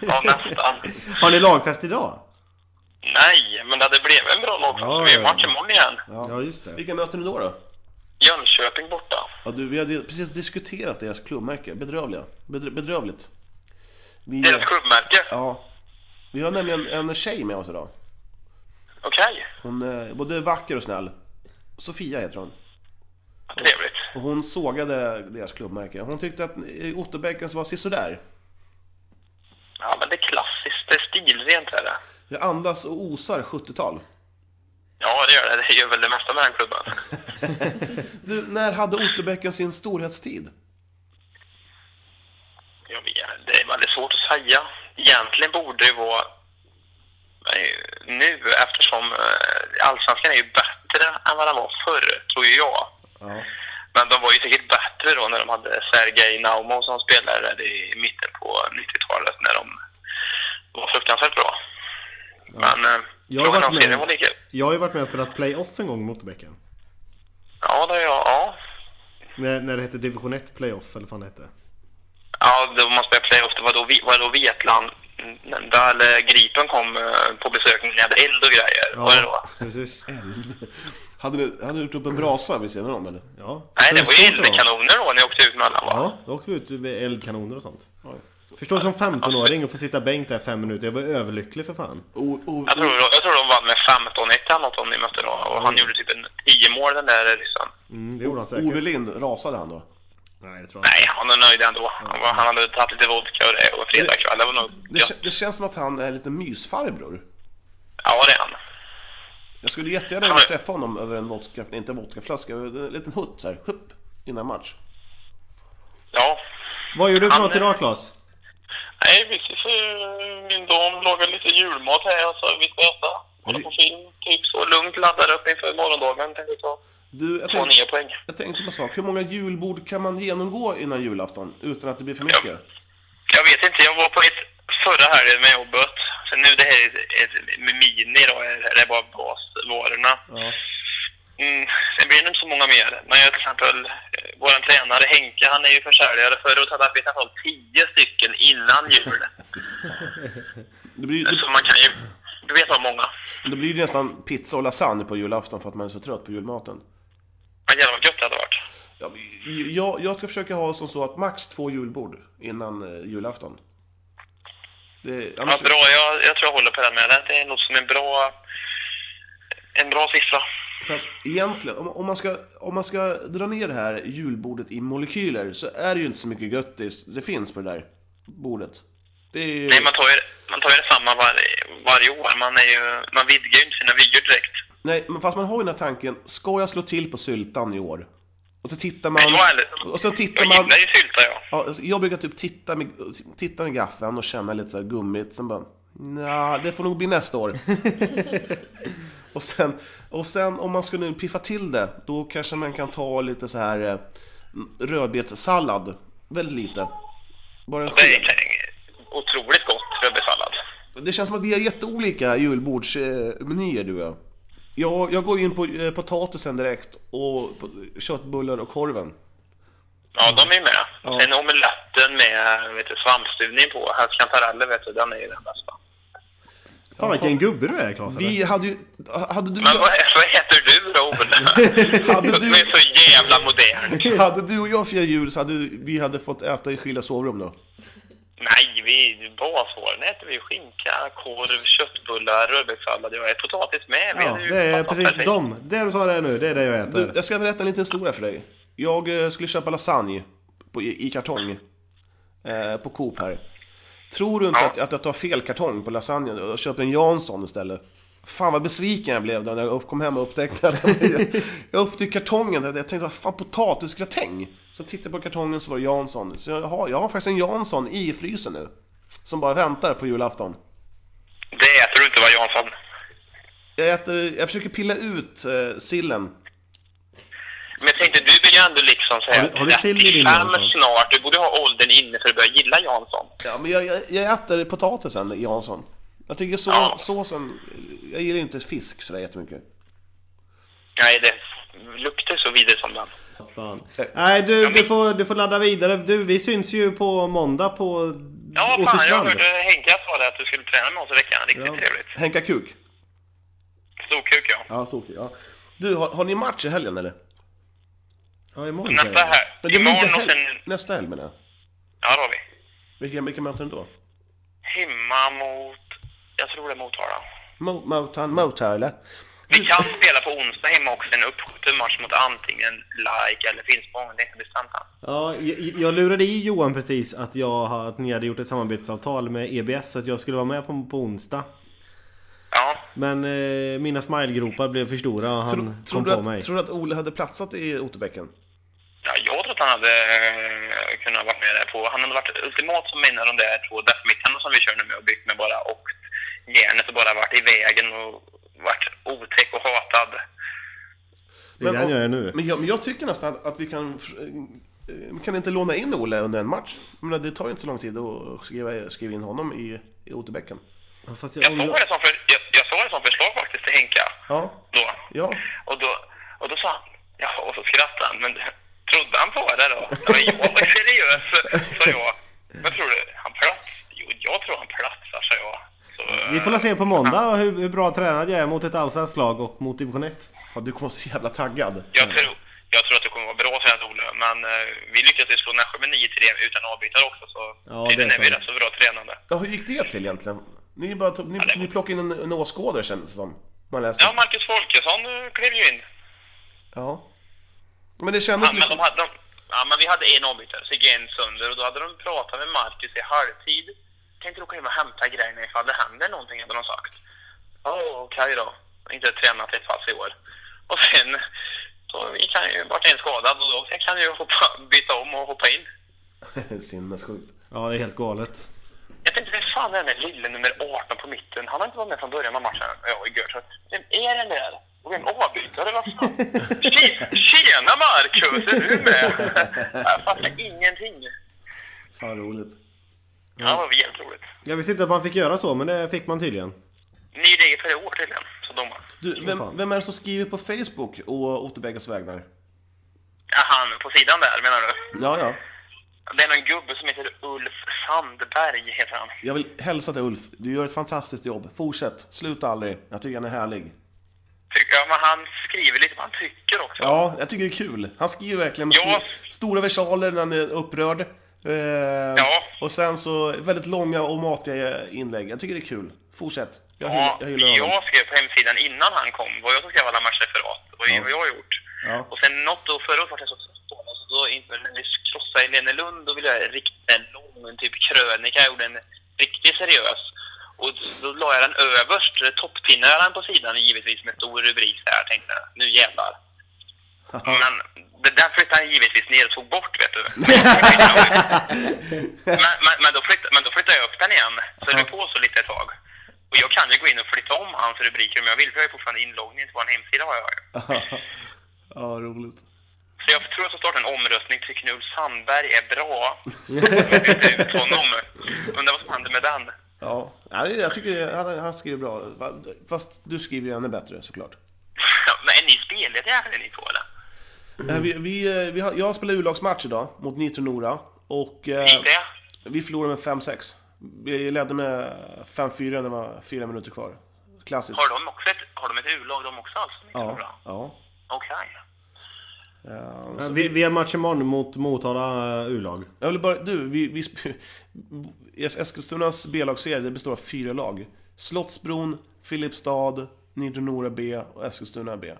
ja, nästan. Har ni lagfest idag? Nej, men det hade blivit en bra lagfest. Ja, vi har ja, ju ja. match imorgon igen. Ja, just det. Vilka möter ni då? då? Jönköping borta. Ja, du, vi hade precis diskuterat deras klubbmärke. Bedrövliga. Bedr- bedrövligt. Vi, Mm. Deras klubbmärke? ja, vi har nämligen en tjej med oss idag. Okej, Hon är både vacker och snäll. Sofia heter hon. vad trevligt. Och hon sågade deras klubbmärke. Hon tyckte att eh, Otterbäckens var sisådär. Ja, men det är klassiskt. Det är stilrent är det. Det andas och osar 70-tal. Ja, det gör det. Det gör väl det mesta med den klubben. Du, när hade Otterbäcken sin storhetstid? Jag vet, det är väldigt svårt att säga. Egentligen borde det vara eh, nu eftersom eh, allsvenskan är ju bättre än vad den var förr, tror ju jag. Ja. Men de var ju säkert bättre då när de hade Sergej Naumo som spelare i mitten på 90-talet när de var fruktansvärt bra. Men eh, Jag har frågan varit om serien med. var lika... Jag har ju varit med och spelat playoff en gång mot Otterbäcken. Ja, det är jag. Ja. När, när det hette Division 1 playoff eller vad fan det hette. Ja, då man spelade playoff, det var då, Vi- var då Vietland, mm, där eh, Gripen kom eh, på besök när ni hade eld och grejer. Var det då? precis. Hade ni, hade ni gjort upp en brasa vid sidan om eller? Ja. Nej, det var ju Förstår du då? eldkanoner då ni åkte ut mellan va? Ja, då åkte vi ut med eldkanoner och sånt. Oj. Förstå som 15-åring och få sitta bänk där fem minuter. Jag var överlycklig för fan. O, o, Jag tror, jag tror de vann med 15-1 eller något om ni mötte då. Och han gjorde typ en 10 mål den där ryssen. Mm, det gjorde han säkert. Ove Lind, rasade han då? Nej, det tror jag Nej, han är nöjd ändå. Han, var, han hade tagit lite vodka och det och fredagkväll. Det var nog... Det, Ja, kä- det känns som att han är lite mysfarbror. ja, det är han. Jag skulle jättegärna vilja träffa honom över en vodka, inte en vodkaflaska, över en liten hutt så här, hupp, innan match. Ja. inte. Vad gör du för Han- eh, något idag Claes? Nej, precis. Min dam lagar lite julmat här och så vi ska äta. Kolla på film, typ så. Lugnt laddar upp inför morgondagen. Tänkte ta, Du, jag ta tänkte, nio poäng. jag tänkte på en sak. Hur många julbord kan man genomgå innan julafton utan att det blir för mycket? Jag vet inte, jag var på ett förra helgen med jobbet. Så nu det här är ett, ett mini då, det är bara basvarorna. Ja. Mm, det blir nog inte så många mer. Men jag till exempel, eh, vår tränare Henke, han är ju försäljare. Förra året hade han i alla fall tio stycken innan jul. Det blir, det, Så man kan ju, du vet vad många. det blir ju nästan pizza och lasagne på julafton för att man är så trött på julmaten. Men jävlar vad gött det hade varit. Ja, men Jag, jag ska försöka ha som så att max två julbord innan eh, julafton. Det, Ja, annars, bra, jag, jag tror jag håller på den med. Det är något som en bra, en bra siffra. För att egentligen, om, om, man ska, om man ska dra ner det här julbordet i molekyler så är det ju inte så mycket göttis det finns på det där bordet. Det är ju... Nej, man tar ju, man tar ju detsamma var, varje år. Man, är ju, man vidgar ju inte sina vyer direkt. Nej, men fast man har ju den här tanken, ska jag slå till på syltan i år? Och så tittar man... Men jag, är, Och så tittar jag man... gillar ju sylta jag. Ja, alltså, jag brukar typ titta med, titta med gaffeln och känna lite så här gummigt, sen bara Nja, det får nog bli nästa år. och, sen, och sen om man ska nu piffa till det, då kanske man kan ta lite så här eh, rödbetssallad, väldigt lite. Bara en Det sked. är otroligt gott rödbetssallad. Det känns som att vi har jätteolika julbordsmenyer du och jag. jag. Jag går in på eh, potatisen direkt och på- köttbullar och korven. Ja, de är ju med. Och Sen omeletten med vet du, svampstuvning på. Helst kantareller, vet du. Den är ju den bästa. Fan vilken gubbe du är Claes. eller? Vi hade ju... Hade du, Men vad, vad heter du då, Olle? hade Du är så jävla modern. Hade du och jag firat jul så hade vi hade fått äta i skilda sovrum då. Nej, vi basvaren äter vi ju skinka, korv, köttbullar, rödbetssallad. Jag är potatis med. Vi Ja, hade ju det är fattat precis perfekt. dem. Det du sa där nu, det är det jag Du, äter. jag ska berätta en liten historia för dig. Jag eh, skulle köpa lasagne på, i, i kartong eh, på Coop här. Tror du inte att, att jag tar fel kartong på lasagne och köper en Jansson istället? Fan vad besviken jag blev då när jag upp- kom hem och upptäckte att jag upptäckte kartongen. Jag tänkte, vad fan potatisgratäng? Så tittade jag på kartongen så var det Jansson. Så jag har, jag har faktiskt en Jansson i frysen nu. Som bara väntar på julafton. Det äter du inte, va, Jansson? Jag, äter, jag försöker pilla ut eh, sillen. Men jag tänkte, du blir ju ändå liksom så här... Har du- har du sill i din 35 Jansson? snart. Du borde ha åldern inne för att börja gilla Jansson. Ja, men jag, jag, jag äter potatisen, Jansson. Jag tycker så, Ja. såsen... Jag gillar inte fisk sådär jättemycket. Nej, det luktar så vidrigt som den. Fan. Nej du, du får, du får ladda vidare. Du, vi syns ju på måndag på Ja, fan, jag Återstrand. hörde Henke sa det att du skulle träna med oss i veckan. Riktigt Ja. trevligt. Henka Kuk? Storkuk, ja. Ja, storkuk. Ja. Du, har, har ni match i helgen eller? Ja, imorgon Nästa säger jag. här. Men det blir inte Imorgon helg. och sen... Nästa helg menar jag. Ja, det har vi. Vilka, vilka möter ni då? Hemma mot... Jag tror det är Motala. Mo- Motan, Motala? Vi kan spela på onsdag hemma också, en uppskjuten match mot antingen Like eller Finspång. Det är inte bestämt än. Ja, jag, jag lurade i Johan precis att, jag, E har- att ni hade gjort ett samarbetsavtal med EBS så att jag skulle vara med på, på onsdag. Ja. Men eh, mina smilegropar blev för stora och han Tro, kom tror, på du att, mig. tror du att Ole hade platsat i Otterbäcken? Ja, jag tror att han hade eh, kunnat ha varit med där på... Han hade varit ultimat som vinner de där två deathmittarna som vi körde med och bytt med bara och järnet och bara varit i vägen och varit otäck och hatad. Det är det han gör nu. Men jag, men jag tycker nästan att, att vi kan... eh, Kan inte låna in Ole under en match? Jag menar, det tar ju inte så lång tid att skriva, skriva in honom i, i Otterbäcken. Mm, Ja, Fast jag, Jag om såg jag, det som, för, jag, jag såg det som förslag faktiskt till Henka Ja, då. ja. Och då, och då sa han... Ja, och så skrattade han. Men trodde han på det då? Ja, men jag var seriös, sa jag. Men tror du han platsar? Jo, jag tror han platsar, sa jag. Så, eh, vi får la se på måndag hur, hur bra tränad jag är mot ett allsvenskt lag och mot division 1. Fan, du kommer vara så jävla taggad. Jag Mm. tror, jag tror att det kommer vara bra tränat Olle, men eh, vi lyckades ju slå Nässjö med 9-3 utan avbytare också, så Ja, tydligen det är är vi sant. rätt så bra tränande. Ja, hur gick det till egentligen? Ni, bara tog, ni, ni plockade in en, en åskådare kändes det som. Man läste. Ja, Marcus Folkesson eh, klev ju in. Ja. Men det kändes Ja, men, de liksom... hade, de, ja, men vi hade en avbytare, så gick en sönder och då hade de pratat med Marcus i halvtid. Kan inte du komma hem och hämta grejerna ifall det händer någonting, hade de sagt. Ja, okej då. Inte tränat ett pass i år. Och sen, då gick han ju, vart en skadad och då fick han ju hoppa, byta om och hoppa in. liksom- Sinnessjukt. Ja, det är helt galet. Jag tänkte, vem fan är den där lille nummer 18 på mitten? Han har inte varit med från början av matchen. Ja, igår. Så, vem är den där? Och vem avbytare? Vad fan? Tje- Tjena Marcus, är du med? Jag fattar ingenting. Fan roligt. Ja, det var jävligt roligt. Jag visste inte att man fick göra så, men det fick man tydligen. Ny regel för i år tydligen, så domaren. Du, fan. vem, vem är det som skriver på Facebook och Otterbäckas vägnar? Ja, han på sidan där menar du? Ja, ja. Det är någon gubbe som heter Ulf Sandberg, heter han. Jag vill hälsa till Ulf. Du gör ett fantastiskt jobb. Fortsätt. Sluta aldrig. Jag tycker han är härlig. Tycker- Ja, men han skriver lite vad han tycker också. Ja, jag tycker det är kul. Han skriver verkligen med Ja. stor, stora versaler när han är upprörd. Eh, Ja. Och sen så väldigt långa och matiga inlägg. Jag tycker det är kul. Fortsätt. Jag, Ja, hyll, jag hyllar honom. jag skrev på hemsidan innan han kom vad jag som skrev alla matchreferat och vad jag har gjort. Ja. Och sen något då förra året vart jag så förvånad så då inför när vi krossade Helene Lund då ville jag rikta en lång en typ krönika. Jag gjorde en riktigt seriös. Och då la jag den överst, toppinnade jag den på sidan givetvis med stor rubrik där tänkte jag, nu jävlar. Men det där flyttade han givetvis ner och tog bort vet du. men, men, men, då flytt, men då flyttade jag upp den igen. Så höll vi på så lite ett tag. Och jag kan ju gå in och flytta om hans rubriker om jag vill, för jag har ju fortfarande inloggning till vår hemsida har jag ju. ja, roligt. Så jag tror jag ska starta en omröstning. Tycker ni Ulf Sandberg är bra? Byta ut honom. Undrar vad som händer med den. Ja, Nej, det- jag tycker det- han, han skriver bra. Va- Fast du skriver ju ännu bättre såklart. Ja, Men är ni spellediga eller är ni två eller? Eh, Vi, vi, eh, vi har, jag spelade U-lagsmatch idag mot Nitro Nora och eh, Gick det? vi förlorade med 5-6. Vi ledde med 5-4 när det var fyra minuter kvar. Klassiskt. Har de också ett, har de ett U-lag de också alltså? Ja, ja. Okej. Eh, Ja, Vi, vi har match imorgon mot Motala eh, U-lag. Jag vill bara, du, vi, vi, sp- Es- Eskilstunas B-lagsserie det består av fyra lag. Slottsbron, Filipstad, Nitro Nora B och Eskilstuna B.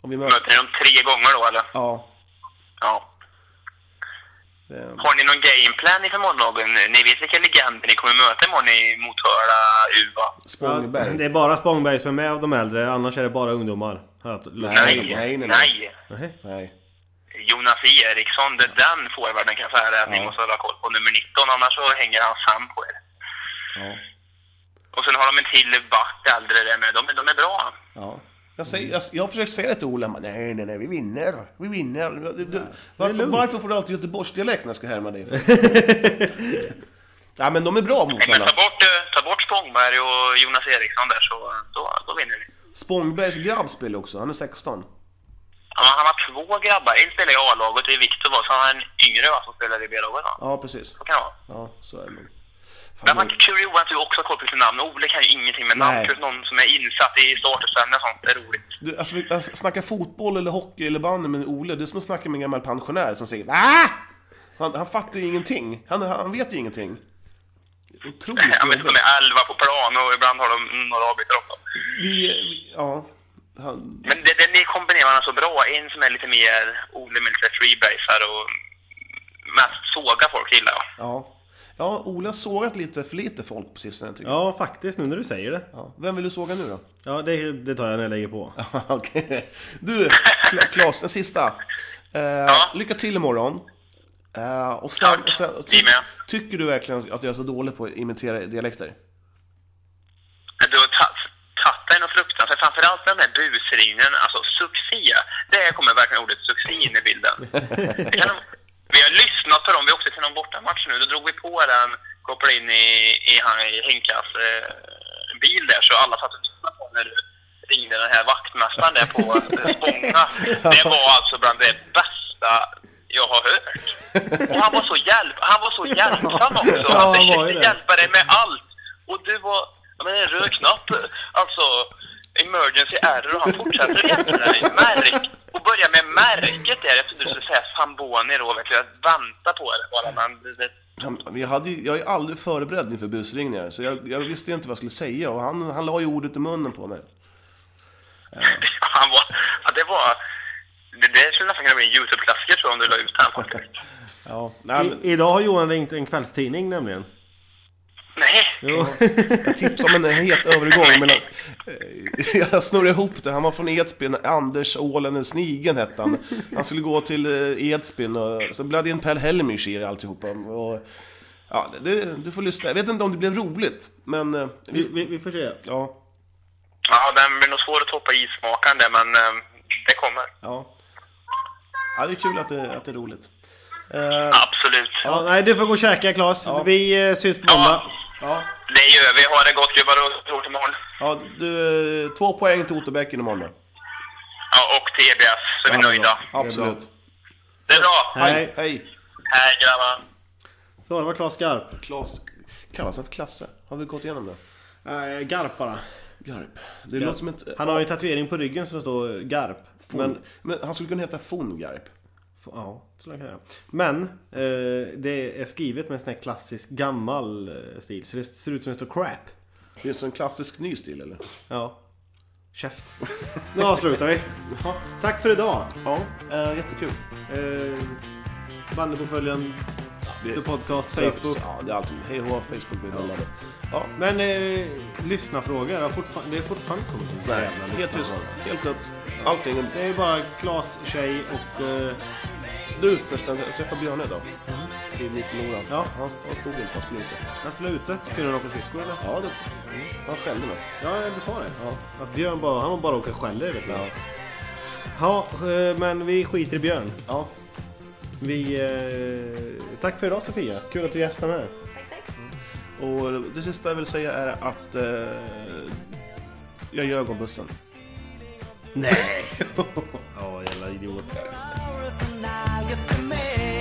Om vi möter... Möter ni dem tre gånger då eller? Ja. Ja. det- Har ni någon gameplan inför morgondagen? Ni vet vilka legender ni kommer möta imorgon i Motala U va? Ja, Spångeberg. det är bara Spångberg som är med av de äldre, annars är det bara ungdomar. Har jag lyssnat Nej, till. nej, nej, nej. nej. Nej. Nej. Jonas E. Eriksson, det är den forwarden kan jag säga det att ni Ja. måste hålla koll på. Nummer 19, annars så hänger han fram på er. Ja. Och sen har de en till back äldre där med. De, de är bra. Ja. Jag, säger, jag, jag har försökt säga det till Ola, men nej, nej, nej, vi vinner. Vi vinner. Du, du, varför, varför får du alltid Göteborgsdialekt när jag ska härma dig? Nej, men de är bra mot Men varandra. ta bort, eh, ta bort Spångberg och Jonas Eriksson där så då, då vinner ni. Spångbergs grabb spelar också, han är 16. Ja, men han har två grabbar. En spelar i A-laget, det är Viktor va, så han har en yngre va, som spelar i B-laget va. Ja, precis. Så kan det vara. Ja, så är det nog. Men Fan, man det- kul Johan att du också har koll på sina namn. Ole kan ju ingenting med namn. Nej. Plus någon som är insatt i startuppställningar och sånt. Det är roligt. Du, alltså, vi- alltså, snacka fotboll eller hockey eller bandy med Ole, det är som att snacka med en gammal pensionär som säger ah! han, han fattar ju ingenting. Han, han vet ju ingenting. Otroligt Ja, men jobbigt. de är elva på plan och ibland har de några avbytare också. Vi, vi, ja. Han, Men det, det, ni kombinerar varandra så bra. En som är lite mer Ole med lite freebasare och mest såga folk gillar jag. ja. Ja, Ola har sågat lite för lite folk på sistone tycker jag. Ja, faktiskt nu när du säger det. Ja. Vem vill du såga nu då? Ja, det, det tar jag när jag lägger på. Okej. Du, Kla- Claes, en sista. Eh, Lycka till imorgon. Eh, och sen, Tack. och sen Vi med. tycker du verkligen att jag är så dålig på att imitera dialekter? Men du har tatt- tagit dig något fruktansvärt. Framförallt den där busringen, alltså succé. Där kommer verkligen ordet succé in i bilden. Det kan de- Vi har lyssnat på dem, vi åkte till någon bortamatch nu, då drog vi på den, kopplade in i, i, han, i Henkas eh, bil där, så alla satt och lyssnade på när du ringde den här vaktmästaren där på eh, Spånga. Det var alltså bland det bästa jag har hört. Och han var så, hjälp, han var så hjälpsam också. Ja, Han han var ju försökte det. hjälpa dig med allt. Och du var, ja, men en röd knapp, alltså emergency error, och han fortsätter att hjälpa dig. Märk, och börja med märket där, jag trodde du skulle säga Zamboni då, verkligen att vänta på det bara. Men det, det, Jag, hade ju, jag är aldrig förberedd inför busringningar, så jag, jag visste ju inte vad jag skulle säga och han, han la ju ordet i munnen på mig. han var, ja, det var, det, det skulle nästan kunna bli en YouTube-klassiker tror jag om du la ut den faktiskt. Ja, nej, men, I, idag har Johan ringt en kvällstidning nämligen. Nej, Jo. tips om en het övergång mellan... Eh, Jag snurrade ihop det, han var från Edsbyn, Anders Ålen, Snigen hette han. Han skulle gå till eh, Edsbyn och så blev det in Per Helmich i det alltihopa. Och, ja, det, du får lyssna. Jag vet inte om det blev roligt, men... eh, Vi, Vi, vi, vi får se. ja, ja, den blir nog svår att toppa i smaken där, men eh, det kommer. ja. Ja, det är kul att det, att det är roligt. Absolut. Ja, nej, du får gå och käka Claes. Vi eh, syns på måndag. Ja, Det gör vi. Ha det gott gubbar och roligt imorgon. ja du, eh, två poäng till Otterbäcken imorgon då. Ja, och till EBS, så är vi nöjda. Absolut. Det är bra. Hej. Hej. Hej grabbar. Så, det var Claes Garp. Klas, kallas han för Klasse? Har vi gått igenom det? Eh, Garp bara. Garp. Det låter som ett... Han har ju en tatuering på ryggen som står Garp. Men, Men, men han skulle kunna heta Von Garp. f- ja, så kan jag. göra. Men eh, det är skrivet med en sån här klassisk gammal eh, stil. Så det ser ut som det står crap. Det är en sån klassisk ny stil eller? Ja. Käft. Nu avslutar vi. Tack för idag. Ja, eh, jättekul. Eh, Bandyportföljen, Vi- The Podcast, Sök- Facebook. Ja, det är alltid. Hej och hå, Facebook blir ja. Ja, Men eh, lyssnarfrågor, har fortfar- det är fortfarande kommit in. nej, Jävla helt tyst. lyssnarfrågor. Helt dött. Allting. Det är bara Klas tjej och... Eh, Du förresten, jag träffade Björne idag. Mm. I Mittnora. Ja. Han, han stod inte, han spelade inte. jag spelade ute. Kunde du åka skridskor eller? Ja, det, han skällde mest. Ja, du sa det. Ja. Att Björn bara, han bara åker skäller vet du. Ja. eh, men vi skiter i Björn. Ja. Vi... Eh, tack för idag Sofia. Kul att du gästade med. Tack, tack. Och det sista jag vill säga är att eh, jag ljög om bussen. Nej! Ja, jävla idiot. hours and I'll get the mail.